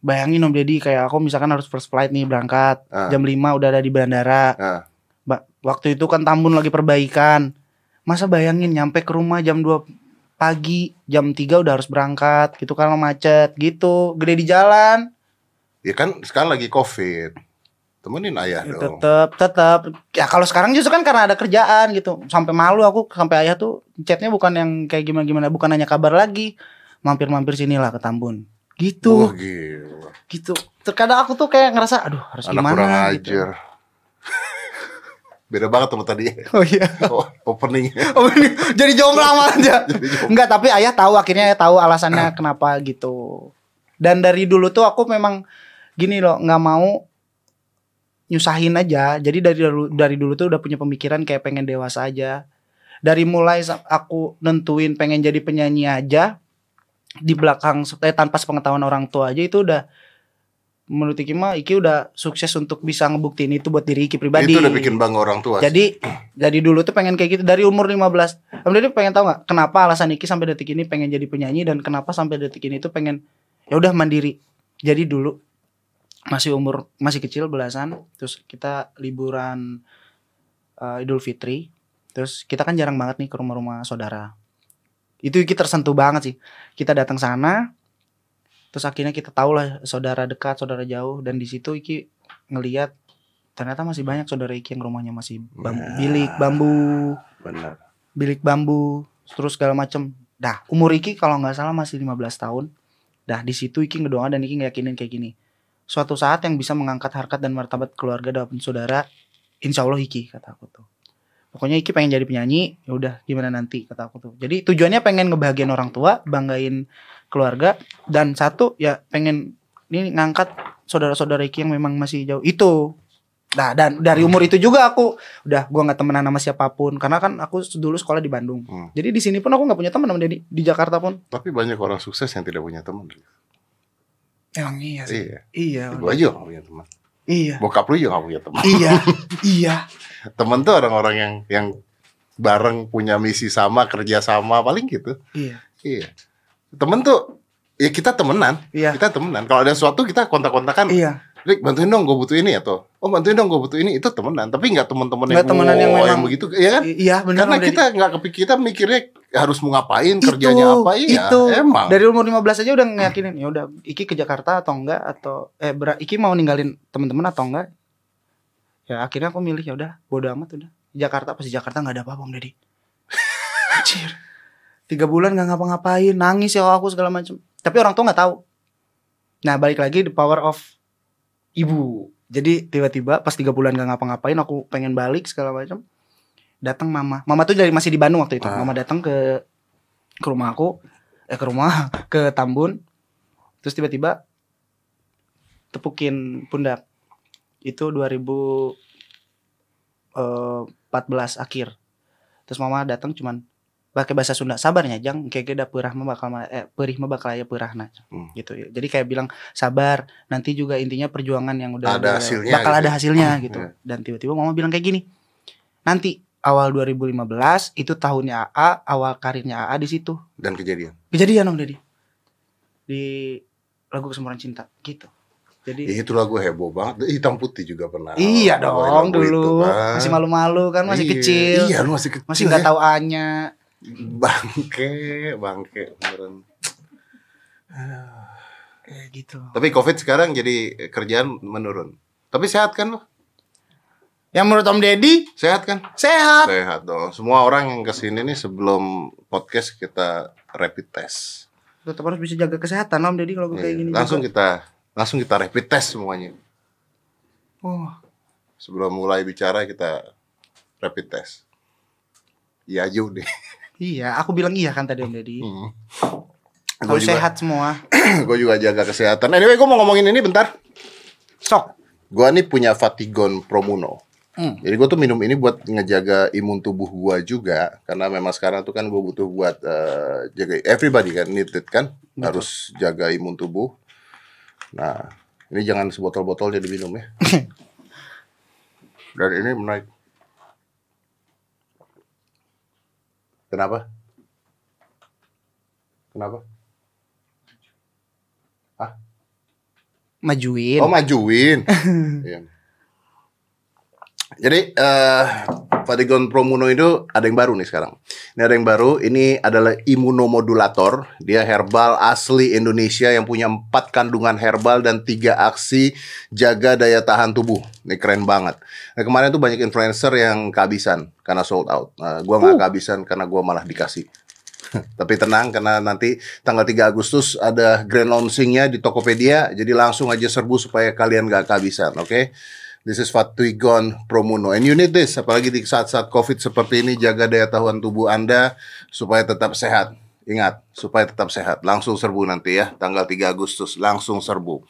A: bayangin om deddy kayak aku misalkan harus first flight nih berangkat
B: Ah.
A: jam 5 udah ada di bandara
B: Ah.
A: Ba- waktu itu kan Tambun lagi perbaikan masa bayangin nyampe ke rumah jam 2 pagi jam 3 udah harus berangkat gitu kalau macet gitu gede di jalan
B: Ya kan sekarang lagi covid temenin ayah
A: Ya,
B: dong
A: tetep tetep ya kalau sekarang justru kan karena ada kerjaan gitu sampai malu aku sampai ayah tuh chatnya bukan yang kayak gimana gimana bukan nanya kabar lagi mampir-mampir sinilah ke Tambun
B: Wah,
A: gitu
B: gila.
A: gitu terkadang aku tuh kayak ngerasa aduh harus
B: anak
A: gimana
B: kurang
A: gitu.
B: ajar beda banget sama tadi
A: oh iya
B: o- openingnya
A: oh, ini jadi jomblo lama aja
B: Jadi jomblo.
A: enggak tapi ayah tahu akhirnya ayah tahu
B: Ah.
A: alasannya kenapa gitu dan dari dulu tuh aku memang gini loh nggak mau nyusahin aja jadi dari dulu dari dulu tuh udah punya pemikiran kayak pengen dewasa aja dari mulai sa- aku nentuin pengen jadi penyanyi aja di belakang se- eh, tanpa sepengetahuan orang tua aja itu udah menurut Iki mah Iki udah sukses untuk bisa ngebuktiin itu buat diri Iki pribadi
B: itu udah bikin bangga orang tua sih.
A: jadi dari dulu tuh pengen kayak gitu dari umur 15. Kemudian pengen tahu nggak kenapa alasan Iki sampai detik ini pengen jadi penyanyi dan kenapa sampai detik ini tuh pengen ya udah mandiri. Jadi dulu masih umur masih kecil belasan terus kita liburan eh, Idul Fitri terus kita kan jarang banget nih ke rumah-rumah saudara. Itu Iki tersentuh banget sih. Kita datang sana terus akhirnya kita tahu lah saudara dekat, saudara jauh dan di situ Iki ngeliat ternyata masih banyak saudara Iki yang rumahnya masih bambu,
B: Nah.
A: bilik bambu,
B: benar
A: bilik bambu, terus segala macem. Dah, umur Iki kalau nggak salah masih 15 tahun. Dah, di situ Iki ngedoa dan Iki ngeyakinin kayak gini. Suatu saat yang bisa mengangkat harkat dan martabat keluarga dan saudara, insya Allah Iki kata aku tuh. Pokoknya Iki pengen jadi penyanyi, ya udah gimana nanti kata aku tuh. Jadi tujuannya pengen ngebahagiain orang tua, banggain keluarga, dan satu ya pengen ini ngangkat saudara-saudara Iki yang memang masih jauh itu. Nah, dan dari umur itu juga aku udah gua nggak temenan sama siapapun karena kan aku dulu sekolah di Bandung.
B: Hmm.
A: Jadi di sini pun aku nggak punya teman sama Dedi di Jakarta pun.
B: tapi banyak orang sukses yang tidak punya teman
A: Iya Emang iya
B: iya
A: Iya.
B: gue aja gak punya teman
A: Iya.
B: bokap lu juga gak punya teman
A: Iya. iya.
B: teman tuh orang-orang yang yang bareng punya misi sama kerja sama paling gitu
A: Iya.
B: iya temen tuh ya kita temenan
A: Iya.
B: kita temenan kalau ada sesuatu kita kontak-kontakan
A: Iya.
B: Rick bantuin dong gue butuh ini atau oh bantuin dong gue butuh ini itu temenan tapi nggak teman-teman
A: Nggak temenan yang
B: "Wah,
A: memang-
B: begitu ya kan
A: I- Iya, benar.
B: karena
A: sama Dedi.
B: kita nggak kepikir kita mikirnya harus mau ngapain
A: Itu,
B: kerjanya apa iya
A: itu.
B: emang
A: dari umur 15 aja udah ngeyakinin ya udah Iki ke Jakarta atau enggak atau eh ber- Iki mau ninggalin temen-temen atau enggak ya akhirnya aku milih ya udah bodo amat udah Jakarta pasti Jakarta nggak ada apa-apa Om Deddy Anjir. tiga bulan nggak ngapa-ngapain nangis ya aku segala macem tapi orang tua nggak tahu nah balik lagi the power of ibu jadi tiba-tiba pas tiga bulan nggak ngapa-ngapain aku pengen balik segala macem datang mama mama tuh dari masih di Bandung waktu itu
B: Ah.
A: mama datang ke ke rumah aku eh ke rumah ke Tambun terus tiba-tiba tepukin pundak itu 2014 eh, akhir terus mama datang cuman pakai bahasa Sunda sabarnya jang kayak gede perah mah bakal ma- eh, perih mah bakal aya peurahna
B: Hmm.
A: gitu jadi kayak bilang sabar nanti juga intinya perjuangan yang udah
B: Ada
A: udah-
B: hasilnya
A: bakal
B: gitu.
A: ada hasilnya gitu
B: Iya.
A: dan tiba-tiba mama bilang kayak gini nanti awal 2015 itu tahunnya AA awal karirnya AA di situ
B: dan kejadian
A: kejadian om Deddy di lagu kesemburan cinta gitu
B: ya,
A: jadi
B: itu lagu heboh banget hitam putih juga pernah
A: iya
B: Bawain
A: dong
B: lagu itu,
A: dulu
B: kan.
A: masih malu-malu kan masih
B: Iya.
A: kecil
B: iya lu masih kecil
A: masih nggak tahu A-nya
B: bangke bangke beneran
A: kayak gitu
B: tapi covid sekarang jadi kerjaan menurun tapi sehat kan lo
A: yang menurut om Deddy
B: sehat kan
A: sehat
B: Sehat dong. Semua orang yang kesini nih sebelum podcast kita rapid test.
A: tetap harus bisa jaga kesehatan om Deddy kalau gue kayak
B: Iya,
A: gini
B: langsung
A: juga.
B: kita langsung kita rapid test semuanya.
A: Wah,
B: Sebelum mulai bicara kita rapid test. Iya aja deh.
A: iya aku bilang iya kan tadi om Deddy
B: Hmm. Gue
A: harus
B: juga,
A: sehat semua
B: gue juga jaga kesehatan. Anyway, gue mau ngomongin ini bentar.
A: sok
B: Gue nih punya Fatigon Promuno.
A: Hmm.
B: Jadi gue tuh minum ini buat ngejaga imun tubuh gue juga, karena memang sekarang tuh kan gue butuh buat eh, jaga everybody kan needed kan,
A: Betul.
B: harus jaga imun tubuh. Nah ini jangan sebotol-botol jadi minum ya. Dan ini menaik. Kenapa? Kenapa?
A: majuin
B: Oh majuin. Iya. Jadi eh Fatigon Promuno itu ada yang baru nih sekarang. Ini ada yang baru. Ini adalah imunomodulator. Dia herbal asli Indonesia yang punya empat kandungan herbal dan tiga aksi jaga daya tahan tubuh. Ini keren banget. Nah, kemarin tuh banyak influencer yang kehabisan karena sold out. Nah, gua nggak kehabisan karena gua malah dikasih. Tapi tenang karena nanti tanggal 3 Agustus ada grand launchingnya di Tokopedia. Jadi langsung aja serbu supaya kalian gak kehabisan, oke? This is Fatuigon Promuno. And you need this, apalagi di saat-saat COVID seperti ini, jaga daya tahan tubuh Anda supaya tetap sehat. Ingat, supaya tetap sehat. Langsung serbu nanti ya, tanggal 3 Agustus. Langsung serbu.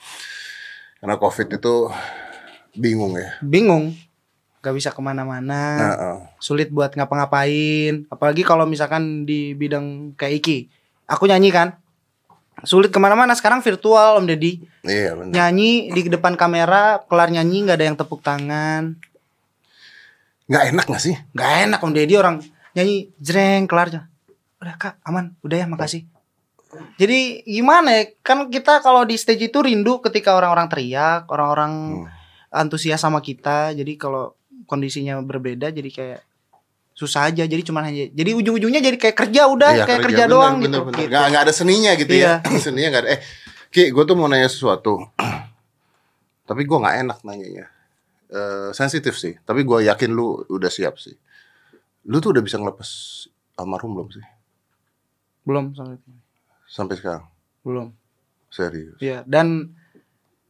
B: Karena COVID itu bingung ya.
A: bingung gak bisa kemana-mana
B: Heeh.
A: sulit buat ngapa-ngapain apalagi kalau misalkan di bidang kayak Iki aku nyanyi kan sulit kemana-mana sekarang virtual Om Deddy
B: Iya benar.
A: nyanyi di depan kamera kelar nyanyi nggak ada yang tepuk tangan
B: Nggak enak nggak sih?
A: nggak enak Om Deddy orang nyanyi jreng kelar aja udah kak aman udah ya makasih jadi gimana ya kan kita kalau di stage itu rindu ketika orang-orang teriak orang-orang
B: Hmm.
A: antusias sama kita jadi kalau kondisinya berbeda jadi kayak susah aja jadi cuman hanya jadi ujung-ujungnya jadi kayak kerja udah
B: Iya,
A: kayak kerja,
B: bener,
A: doang
B: bener,
A: gitu,
B: bener.
A: gitu.
B: Nggak, nggak ada seninya gitu
A: Iya.
B: ya. seninya nggak ada. Eh, Ki, gue tuh mau nanya sesuatu. Tapi gue nggak enak nanyanya. Eh, sensitif sih. Tapi gue yakin lu udah siap sih. Lu tuh udah bisa ngelepas almarhum belum sih?
A: belum sampai itu.
B: Sampai sekarang.
A: belum
B: Serius.
A: ya dan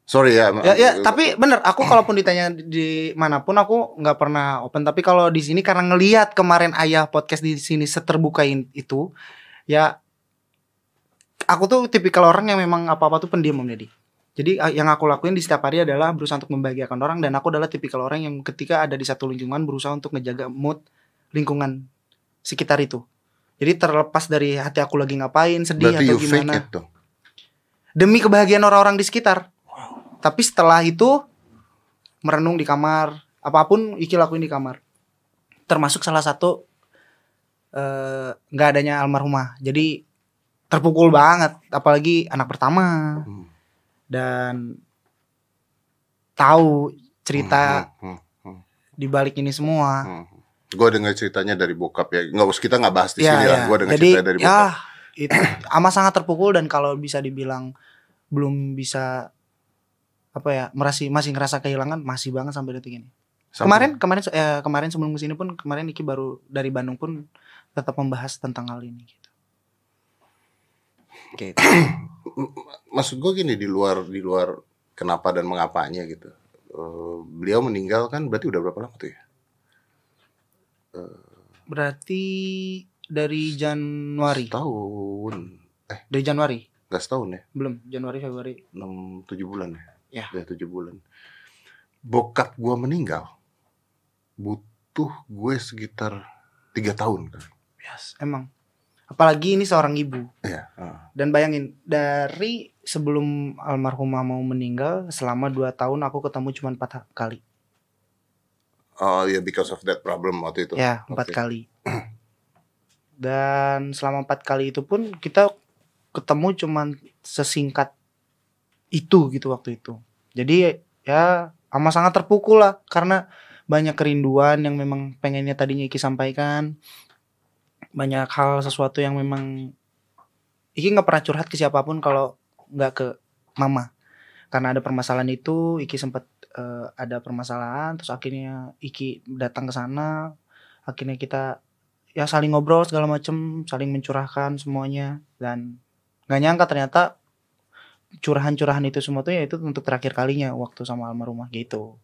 B: Sorry ya.
A: ya, ya tapi bener aku kalaupun ditanya di manapun aku nggak pernah open tapi kalau di sini karena ngelihat kemarin ayah podcast di sini seterbuka in- itu ya aku tuh tipikal orang yang memang apa-apa tuh pendiam Om Deddy. Jadi a- yang aku lakuin di setiap hari adalah berusaha untuk membahagiakan orang dan aku adalah tipikal orang yang ketika ada di satu lingkungan berusaha untuk ngejaga mood lingkungan sekitar itu. Jadi terlepas dari hati aku lagi ngapain, sedih
B: Berarti
A: atau
B: you fake ya?
A: gimana.
B: it dong.
A: Demi kebahagiaan orang-orang di sekitar. Tapi setelah itu merenung di kamar, apapun Iki lakuin di kamar. Termasuk salah satu eh, nggak adanya almarhumah. Jadi terpukul banget apalagi anak pertama
B: Hmm.
A: dan tahu cerita
B: Hmm, hmm, hmm,
A: di balik ini semua.
B: hmm. Gue dengar ceritanya dari bokap ya. Nggak usah kita nggak bahas di
A: Ya,
B: sini lah.
A: ya.
B: Gue dengar
A: Jadi
B: ceritanya dari
A: ya
B: bokap.
A: itu ama sangat terpukul dan kalau bisa dibilang belum bisa apa ya merasi masih ngerasa kehilangan masih banget sampai detik ini.
B: Sampai-
A: Kemarin kemarin eh, kemarin sebelum kesini pun kemarin Iki baru dari Bandung pun tetap membahas tentang hal ini gitu. Gitu.
B: maksud gue gini di luar di luar kenapa dan mengapanya gitu. Eh, beliau meninggal kan berarti udah berapa lama tuh ya?
A: Berarti dari Januari.
B: Tahun eh
A: Dari Januari.
B: nggak setahun ya,
A: Belum, Januari Februari.
B: enam tujuh bulan ya?
A: Ya.
B: Ya tujuh bulan. Bokap gue meninggal butuh gue sekitar tiga tahun kan?
A: Yes, emang. Apalagi ini seorang ibu.
B: Iya. heeh.
A: Dan bayangin dari sebelum almarhumah mau meninggal selama 2 tahun aku ketemu cuma 4 kali.
B: Oh ya because of that problem waktu itu.
A: Ya, empat
B: Oke.
A: kali. Dan selama empat kali itu pun kita ketemu cuman sesingkat itu gitu waktu itu. Jadi ya ama sangat terpukul lah karena banyak kerinduan yang memang pengennya tadinya Iki sampaikan. Banyak hal sesuatu yang memang Iki nggak pernah curhat ke siapapun kalau nggak ke mama. Karena ada permasalahan itu, Iki sempat eh, ada permasalahan, terus akhirnya Iki datang ke sana, akhirnya kita ya saling ngobrol segala macem saling mencurahkan semuanya dan nggak nyangka ternyata curahan-curahan itu semua tuh ya itu untuk terakhir kalinya waktu sama almarhumah gitu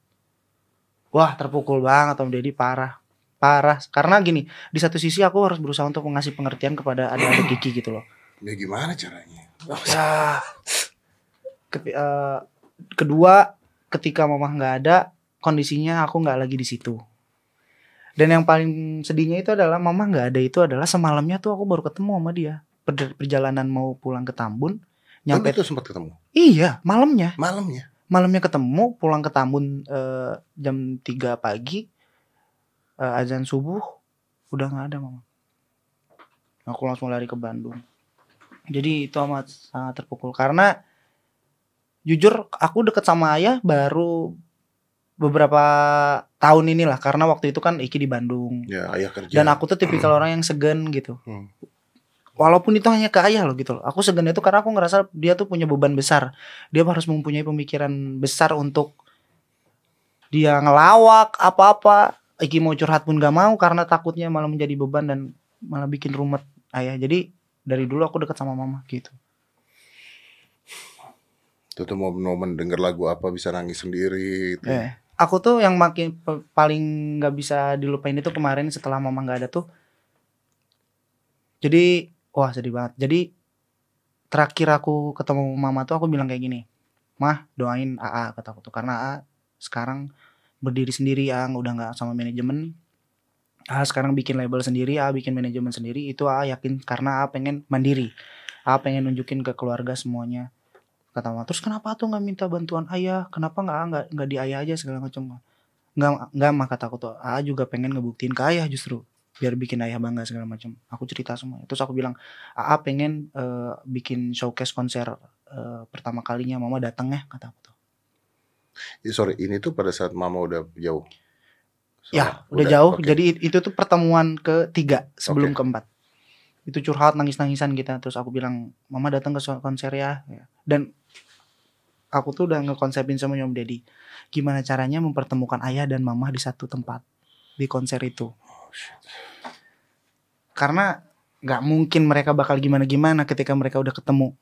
A: wah terpukul banget om deddy parah parah karena gini di satu sisi aku harus berusaha untuk mengasih pengertian kepada adik-adik Kiki gitu loh
B: Ya gimana caranya?
A: ya Ke- eh, kedua ketika mamah nggak ada kondisinya aku nggak lagi di situ dan yang paling sedihnya itu adalah mamah nggak ada itu adalah semalamnya tuh aku baru ketemu sama dia Per- perjalanan mau pulang ke Tambun nyampe
B: Nyampe Kan itu sempat ketemu
A: iya malamnya
B: malamnya.
A: malamnya ketemu pulang ke Tambun eh, jam 3 pagi eh, azan subuh udah nggak ada mama aku langsung lari ke Bandung jadi itu amat sangat terpukul karena jujur aku deket sama ayah baru beberapa tahun inilah karena waktu itu kan Iki di Bandung
B: ya ayah kerja
A: dan aku tuh tipikal orang yang segan gitu
B: Hmm.
A: walaupun itu hanya ke ayah loh gitu loh aku segan itu karena aku ngerasa dia tuh punya beban besar dia harus mempunyai pemikiran besar untuk dia ngelawak apa-apa Iki mau curhat pun gak mau karena takutnya malah menjadi beban dan malah bikin rumet ayah jadi dari dulu aku dekat sama mama gitu
B: Tuh tuh momen-momen denger lagu apa bisa nangis sendiri. Itu.
A: Eh, aku tuh yang makin pe- paling nggak bisa dilupain itu kemarin setelah mama nggak ada tuh. Jadi, wah sedih banget. Jadi terakhir aku ketemu mama tuh aku bilang kayak gini, mah doain AA kata aku tuh karena AA sekarang berdiri sendiri Ang udah nggak sama manajemen. AA sekarang bikin label sendiri, AA bikin manajemen sendiri itu AA yakin karena AA pengen mandiri. AA pengen nunjukin ke keluarga semuanya kata mama terus kenapa tuh nggak minta bantuan ayah kenapa nggak nggak nggak di ayah aja segala macam nggak nggak mah kata aku tuh aa juga pengen ngebuktiin ke ayah justru biar bikin ayah bangga segala macam aku cerita semuanya terus aku bilang aa pengen eh, bikin showcase konser eh, pertama kalinya mama datang ya kata aku tuh
B: Eh, Sorry, ini tuh pada saat mama udah jauh. Sama-
A: ya udah, jauh
B: oke.
A: jadi it- itu tuh pertemuan ketiga sebelum
B: Oke.
A: keempat itu curhat nangis nangisan kita terus aku bilang mama datang ke so- konser ya Ya. dan aku tuh udah ngekonsepin sama nyom deddy gimana caranya mempertemukan ayah dan mama di satu tempat di konser itu
B: Oh,
A: karena nggak mungkin mereka bakal gimana gimana ketika mereka udah ketemu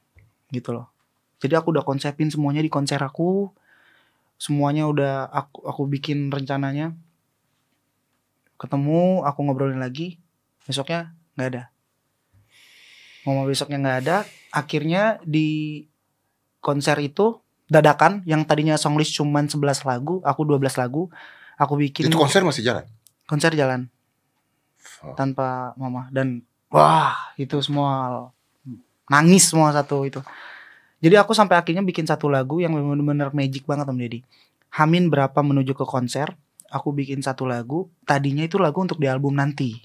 A: gitu loh jadi aku udah konsepin semuanya di konser aku semuanya udah aku aku bikin rencananya ketemu aku ngobrolin lagi besoknya nggak ada ngomong besoknya nggak ada akhirnya di konser itu dadakan yang tadinya songlist cuman 11 lagu aku 12 lagu aku bikin
B: Itu konser masih jalan.
A: konser jalan
B: Fuck.
A: tanpa mama dan wah itu semua nangis semua satu itu jadi aku sampai akhirnya bikin satu lagu yang bener-bener magic banget om deddy Hamin berapa menuju ke konser aku bikin satu lagu tadinya itu lagu untuk di album nanti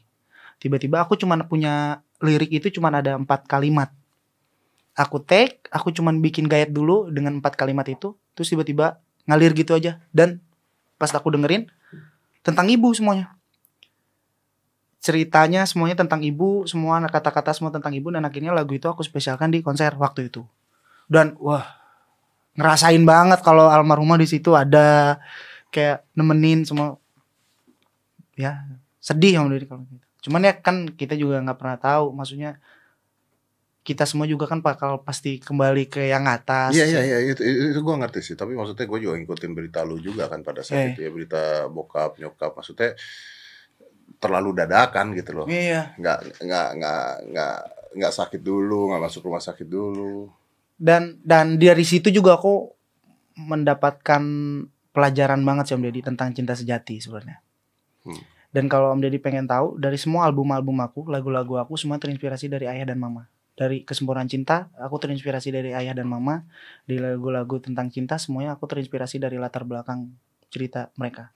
A: tiba-tiba aku cuman punya lirik itu cuman ada empat kalimat aku take aku cuman bikin gayat dulu dengan empat kalimat itu terus tiba-tiba ngalir gitu aja dan pas aku dengerin tentang ibu semuanya ceritanya semuanya tentang ibu semua kata-kata semua tentang ibu dan akhirnya lagu itu aku spesialkan di konser waktu itu dan wah ngerasain banget kalau almarhumah di situ ada kayak nemenin semua ya sedih om Deddy kalau gitu cuman ya kan kita juga nggak pernah tahu maksudnya kita semua juga kan bakal pasti kembali ke yang atas
B: Iya iya iya itu, itu gue ngerti sih tapi maksudnya gue juga ngikutin berita lu juga kan
A: Eh.
B: pada saat itu ya berita bokap nyokap maksudnya terlalu dadakan gitu loh
A: iya
B: nggak nggak nggak nggak nggak sakit dulu nggak masuk rumah sakit dulu
A: dan dan dari situ juga aku mendapatkan pelajaran banget sih Om Deddy tentang cinta sejati sebenarnya.
B: Hmm.
A: Dan kalau Om Deddy pengen tahu dari semua album-album aku, lagu-lagu aku semua terinspirasi dari ayah dan mama. Dari kesempurnaan cinta, aku terinspirasi dari ayah dan mama. Di lagu-lagu tentang cinta semuanya aku terinspirasi dari latar belakang cerita mereka.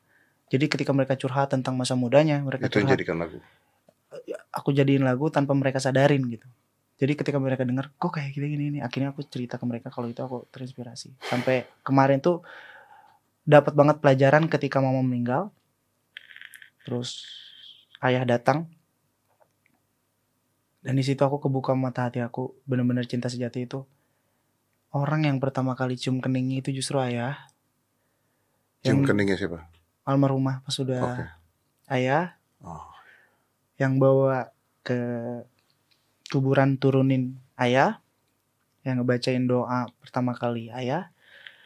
A: Jadi ketika mereka curhat tentang masa mudanya, mereka
B: itu yang
A: curhat
B: jadikan lagu
A: aku jadiin lagu tanpa mereka sadarin gitu. Jadi ketika mereka dengar, kok kayak gini gini ini, akhirnya aku cerita ke mereka kalau itu aku terinspirasi. Sampai kemarin tuh dapat banget pelajaran ketika mama meninggal. Terus ayah datang. Dan di situ aku kebuka mata hati aku, bener-bener cinta sejati itu. Orang yang pertama kali cium keningnya itu justru ayah. Yang
B: cium
A: Ya.
B: keningnya siapa
A: almarhumah pas
B: oke
A: sudah ayah
B: oh.
A: yang bawa ke kuburan turunin ayah, yang ngebacain doa pertama kali ayah,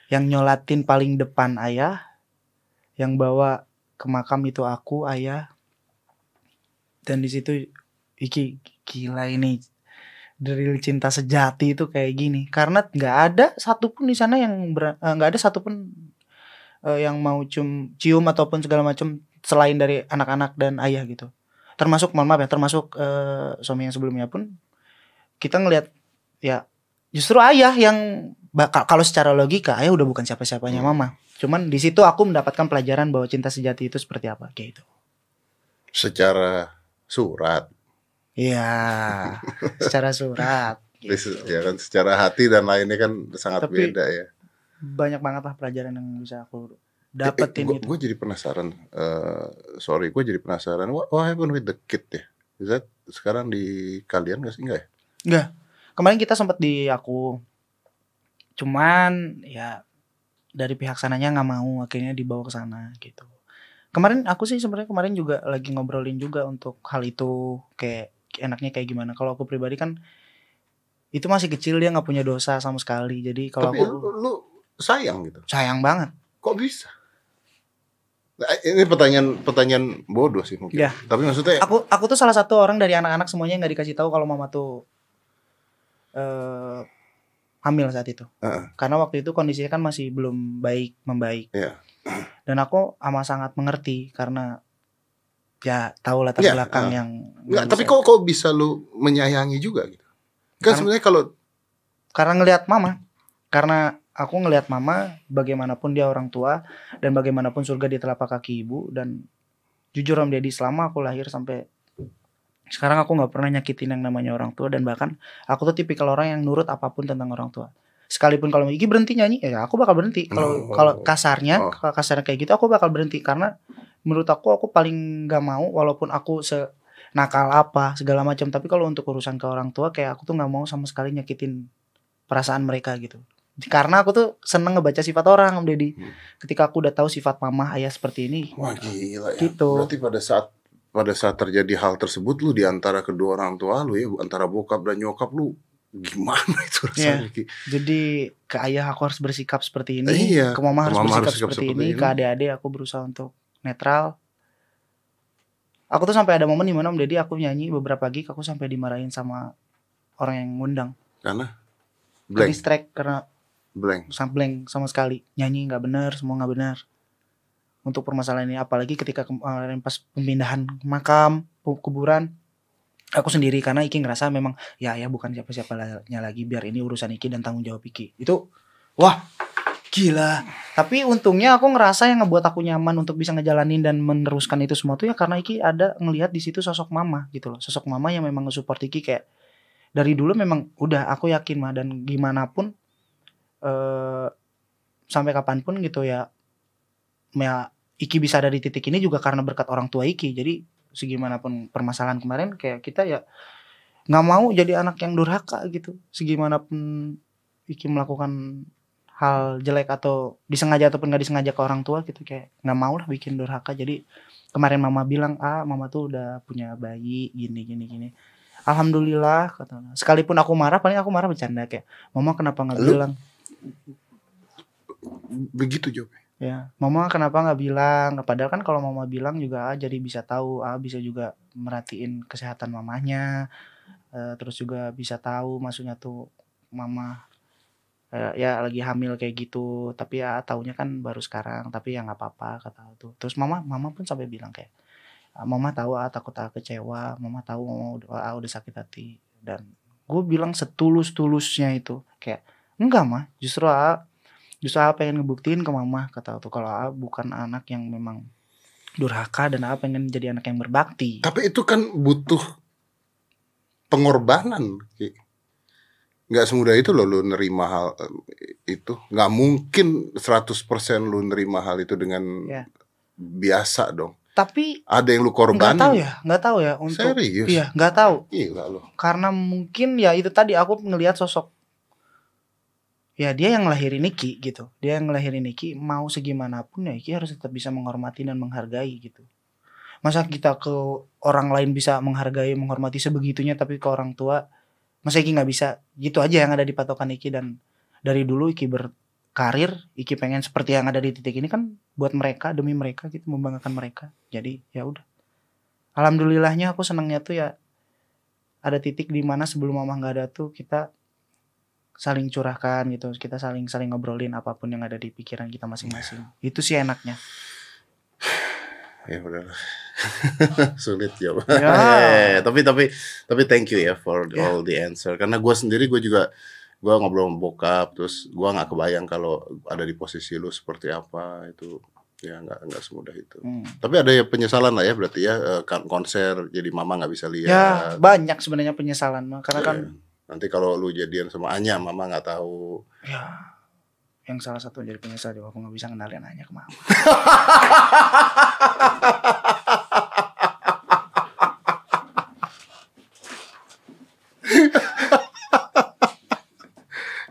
A: yang nyolatin paling depan ayah, yang bawa ke makam itu aku ayah, dan di situ iki gila ini dari cinta sejati itu kayak gini karena nggak ada satupun di sana yang ber- eh, nggak ada satupun eh, yang mau cium cium ataupun segala macam selain dari anak-anak dan ayah gitu termasuk mohon maaf ya termasuk eh, suami yang sebelumnya pun kita ngelihat ya justru ayah yang bakal kalau secara logika ayah udah bukan siapa-siapanya
B: Hmm.
A: mama cuman di situ aku mendapatkan pelajaran bahwa cinta sejati itu seperti apa kayak gitu
B: secara surat
A: iya secara surat gitu.
B: ya kan secara hati dan lainnya kan sangat
A: Tapi-
B: beda ya
A: banyak banget lah pelajaran yang bisa aku
B: Eh,
A: dapetin gitu.
B: gue,
A: itu.
B: Gue jadi penasaran. eh, sorry, gue jadi penasaran. What, what happened with the kid ya? Is that sekarang di kalian nggak sih enggak ya?
A: Enggak. Kemarin kita sempat di aku. Cuman ya dari pihak sananya nggak mau akhirnya dibawa ke sana gitu. Kemarin aku sih sebenarnya kemarin juga lagi ngobrolin juga untuk hal itu kayak enaknya kayak gimana. Kalau aku pribadi kan itu masih kecil dia nggak punya dosa sama sekali. Jadi kalau
B: Tapi ya,
A: aku
B: lu, lu sayang gitu.
A: sayang banget.
B: Kok bisa? Nah, Ini pertanyaan pertanyaan bodoh sih mungkin.
A: Ya.
B: Tapi maksudnya
A: Aku aku tuh salah satu orang dari anak-anak semuanya yang nggak dikasih tahu kalau mama tuh eh hamil saat itu.
B: Heeh.
A: Karena waktu itu kondisinya kan masih belum baik membaik.
B: Iya.
A: Dan aku amat sangat mengerti karena ya tahu latar
B: Iya,
A: belakang
B: eh.
A: yang
B: nggak,
A: nggak
B: tapi
A: bisa.
B: kok kok bisa lu menyayangi juga gitu? Kan
A: Karena-
B: sebenarnya kalau
A: karena ngelihat mama. Karena aku ngelihat mama bagaimanapun dia orang tua dan bagaimanapun surga di telapak kaki ibu dan jujur Om Deddy selama aku lahir sampai sekarang aku nggak pernah nyakitin yang namanya orang tua dan bahkan aku tuh tipikal orang yang nurut apapun tentang orang tua. Sekalipun kalau Iki berhenti nyanyi, ya aku bakal berhenti. Kalau
B: Oh.
A: kalau kasarnya,
B: Oh.
A: kalau kasarnya kayak gitu aku bakal berhenti karena menurut aku aku paling nggak mau walaupun aku se nakal apa segala macam tapi kalau untuk urusan ke orang tua kayak aku tuh nggak mau sama sekali nyakitin perasaan mereka gitu karena aku tuh seneng ngebaca sifat orang Om Deddy
B: Hmm.
A: ketika aku udah tahu sifat mama ayah seperti ini
B: wah gila ya.
A: Gitu.
B: Berarti pada saat pada saat terjadi hal tersebut lu di antara kedua orang tua lu ya, antara bokap dan nyokap lu gimana
A: Ya.
B: itu rasanya? Ki?
A: jadi ke ayah aku harus bersikap seperti ini
B: Iya,
A: ke mama harus
B: ke mama
A: bersikap
B: harus sikap
A: seperti,
B: seperti
A: ini,
B: ini.
A: ke adik-adik aku berusaha untuk netral aku tuh sampai ada momen dimana Om Deddy aku nyanyi beberapa gig aku sampai dimarahin sama orang yang ngundang
B: Blank,
A: distract karena
B: blank.
A: sampleng sama sekali nyanyi nggak benar semua nggak benar untuk permasalahan ini apalagi ketika kemarin pas pemindahan makam pu- kuburan aku sendiri karena Iki ngerasa memang ya ya bukan siapa-siapanya lagi biar ini urusan Iki dan tanggung jawab Iki itu wah gila tapi untungnya aku ngerasa yang ngebuat aku nyaman untuk bisa ngejalanin dan meneruskan itu semua tuh ya karena Iki ada ngelihat di situ sosok mama gitu loh sosok mama yang memang nge-support Iki kayak dari dulu memang udah aku yakin mah dan gimana pun eh sampai kapanpun gitu ya ya Iki bisa ada di titik ini juga karena berkat orang tua Iki jadi segimanapun permasalahan kemarin kayak kita ya nggak mau jadi anak yang durhaka gitu segimanapun Iki melakukan hal jelek atau disengaja ataupun nggak disengaja ke orang tua gitu kayak nggak mau lah bikin durhaka jadi kemarin mama bilang ah mama tuh udah punya bayi gini gini gini alhamdulillah kata sekalipun aku marah paling aku marah bercanda kayak mama kenapa nggak
B: Lu
A: bilang
B: Begitu jawabnya.
A: Ya, mama kenapa nggak bilang? Padahal kan kalau mama bilang juga ah, jadi bisa tahu, ah bisa juga merhatiin kesehatan mamanya, Eh, terus juga bisa tahu maksudnya tuh mama eh, ya lagi hamil kayak gitu, tapi ya taunya kan baru sekarang, tapi ya nggak apa-apa kata tuh. Terus mama mama pun sampai bilang kayak "Ah, mama tahu ah takut ah kecewa, mama tahu mama udah, ah, udah sakit hati dan gue bilang setulus-tulusnya itu kayak enggak mah justru ah justru apa pengen ngebuktiin ke mama kata tuh kalau A bukan anak yang memang durhaka dan A pengen jadi anak yang berbakti
B: Tapi itu kan butuh pengorbanan. Ki. Nggak semudah itu loh lu nerima hal em, itu. Nggak mungkin 100% lu nerima hal itu dengan
A: Iya.
B: biasa dong.
A: tapi
B: Ada yang lu
A: nggak
B: korbanin.
A: tahu ya nggak tahu ya untuk
B: Serius.
A: iya nggak tahu
B: Gila loh.
A: karena mungkin ya itu tadi aku ngelihat sosok ya dia yang ngelahirin Niki gitu dia yang ngelahirin Niki mau segimanapun ya Niki harus tetap bisa menghormati dan menghargai gitu masa kita ke orang lain bisa menghargai menghormati sebegitunya tapi ke orang tua masa Iki nggak bisa gitu aja yang ada di patokan Iki dan dari dulu Iki berkarir Iki pengen seperti yang ada di titik ini kan buat mereka demi mereka gitu membanggakan mereka jadi ya udah alhamdulillahnya aku senangnya tuh ya ada titik di mana sebelum mama nggak ada tuh kita saling curahkan gitu kita saling saling ngobrolin apapun yang ada di pikiran kita masing-masing itu sih enaknya
B: Ya udahlah. Sulit ya.
A: Ya.
B: Eh, tapi tapi tapi thank you ya for
A: Ya.
B: all the answer. Karena gue sendiri gue juga gue ngobrol sama bokap terus gue nggak kebayang kalau ada di posisi lu seperti apa itu ya nggak nggak semudah itu.
A: Hmm.
B: Tapi ada ya penyesalan lah ya berarti ya eh, kan- konser jadi mama nggak bisa lihat.
A: ya banyak sebenarnya penyesalan mah karena kan
B: Iya. nanti kalau lu jadian sama Anya mama nggak tahu
A: ya yang salah satu jadi penyesal juga aku nggak bisa ngenalin hanya ke mama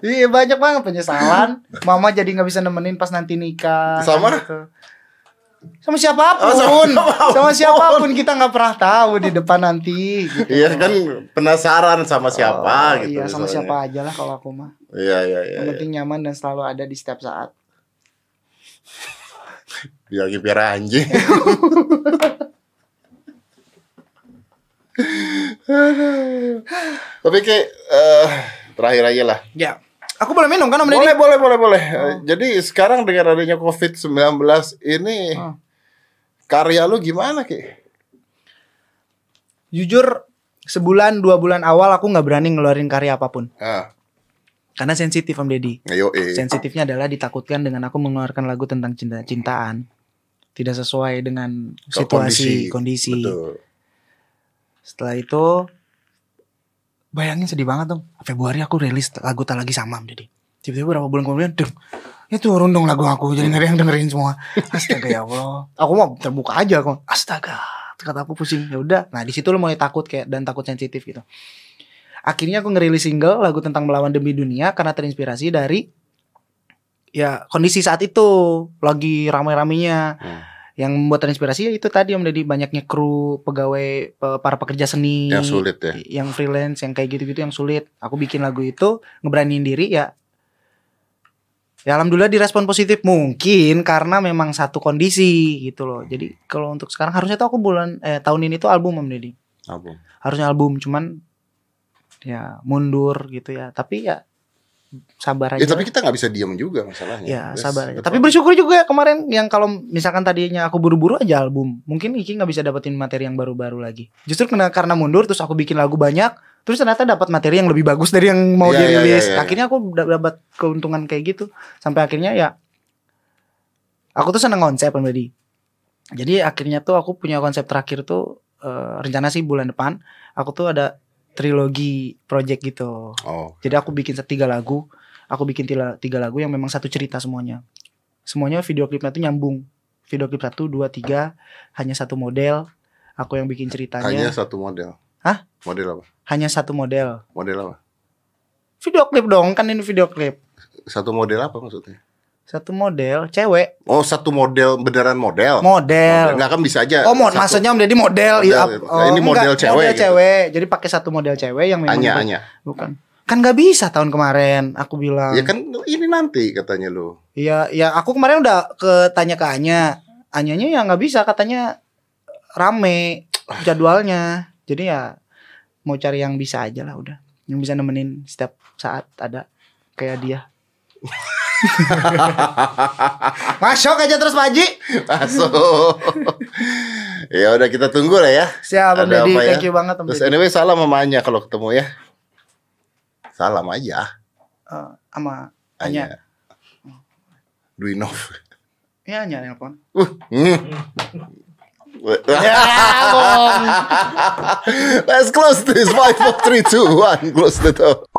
A: Iya banyak banget penyesalan. Mama jadi nggak bisa nemenin pas nanti nikah.
B: Sama?
A: gitu. Sama siapapun.
B: Oh, sama siapapun.
A: Sama siapapun kita nggak pernah tahu di depan nanti. gitu.
B: Iya kan penasaran sama siapa
A: Oh,
B: gitu.
A: Iya sama
B: misalnya.
A: siapa aja lah kalau aku mah.
B: Iya iya iya.
A: Yang
B: iya.
A: penting nyaman dan selalu ada di setiap saat.
B: Dia lagi piara anjing. Aduh. Tapi kayak eh, terakhir aja lah.
A: Ya. Aku boleh minum kan Om Deddy?
B: Boleh, boleh, boleh, boleh. Eh, Jadi sekarang dengan adanya COVID-19 ini
A: Hmm.
B: karya lu gimana, Ki?
A: Jujur sebulan dua bulan awal aku nggak berani ngeluarin karya apapun
B: Ah,
A: karena sensitif Om Deddy.
B: ayo eh.
A: Sensitifnya adalah ditakutkan dengan aku mengeluarkan lagu tentang cinta cintaan tidak sesuai dengan
B: Ke
A: situasi kondisi.
B: Betul.
A: Setelah itu bayangin sedih banget dong. Februari aku rilis lagu tak lagi sama Om Deddy. Tiba-tiba berapa bulan kemudian, deng, ya turun dong lagu aku. Jadi nggak ada yang dengerin semua. Astaga ya Allah. Iya. Aku mau terbuka aja aku. Astaga. Kata aku pusing. Ya udah. Nah di situ lo mulai takut kayak dan takut sensitif gitu. Akhirnya aku ngerilis single lagu tentang melawan demi dunia karena terinspirasi dari ya kondisi saat itu lagi ramai-ramainya.
B: Hmm.
A: Yang membuat terinspirasi ya itu tadi Om Deddy banyaknya kru pegawai pe- para pekerja seni
B: Yang sulit ya.
A: yang freelance yang kayak gitu-gitu yang sulit aku bikin lagu itu ngeberaniin diri ya ya alhamdulillah direspon positif mungkin karena memang satu kondisi gitu loh jadi kalau untuk sekarang harusnya tuh aku bulan eh, tahun ini tuh album Om Deddy
B: Album.
A: harusnya album cuman ya mundur gitu ya tapi ya sabar aja
B: Ya, tapi kita nggak bisa diam juga masalahnya.
A: Ya Iya.
B: Yes,
A: sabar aja.
B: betul.
A: Tapi bersyukur juga kemarin yang kalau misalkan tadinya aku buru-buru aja album, mungkin Iki nggak bisa dapetin materi yang baru-baru lagi. Justru karena karena mundur, terus aku bikin lagu banyak, terus ternyata dapat materi yang lebih bagus dari yang mau
B: Iya,
A: dia
B: iya,
A: rilis.
B: iya, iya.
A: Akhirnya aku da- dapat keuntungan kayak gitu. Sampai akhirnya ya, aku tuh seneng konsep Om Deddy. Jadi akhirnya tuh aku punya konsep terakhir tuh eh, rencana sih bulan depan, aku tuh ada trilogi project gitu.
B: Oh.
A: Jadi aku bikin tiga lagu, aku bikin tila- tiga lagu yang memang satu cerita semuanya. Semuanya video klipnya tuh nyambung. Video klip satu, dua, tiga, hanya satu model. Aku yang bikin
B: Hanya
A: ceritanya. Hanya,
B: satu model.
A: Hah?
B: Model apa?
A: satu model.
B: Model apa?
A: Video klip dong, kan ini video klip.
B: Satu model apa maksudnya?
A: Satu model, cewek,
B: Oh, satu model beneran Oh. model.
A: model.
B: Enggak kan bisa aja.
A: Oh, mod,
B: satu-
A: maksudnya Om Deddy model. Iya,
B: Model.
A: oh,
B: Nah, ini model cewek
A: Model
B: gitu.
A: cewek. Jadi pakai satu model cewek yang memang
B: Hanya, hanya.
A: bukan. Kan gak bisa tahun kemarin aku bilang.
B: Ya kan ini nanti katanya lu.
A: Iya, ya aku kemarin udah ketanya ke Anya. Anyanya ya nggak bisa katanya rame jadwalnya. Jadi ya mau cari yang bisa aja lah udah. Yang bisa nemenin setiap saat ada kayak dia. Masuk aja terus Pak Haji.
B: Masuk. ya udah kita tunggu lah ya.
A: Siap Om
B: Ada
A: Deddy,
B: apa ya?
A: thank you banget Om
B: Terus
A: Deddy.
B: anyway salam sama Anya kalau ketemu ya. Salam aja.
A: Eh, Sama Anya.
B: Anya. Dwinov.
A: Ya Anya nelpon.
B: Hmm.
A: Ya, bohong.
B: Let's close this. Five, four, three, two, one. Close the door.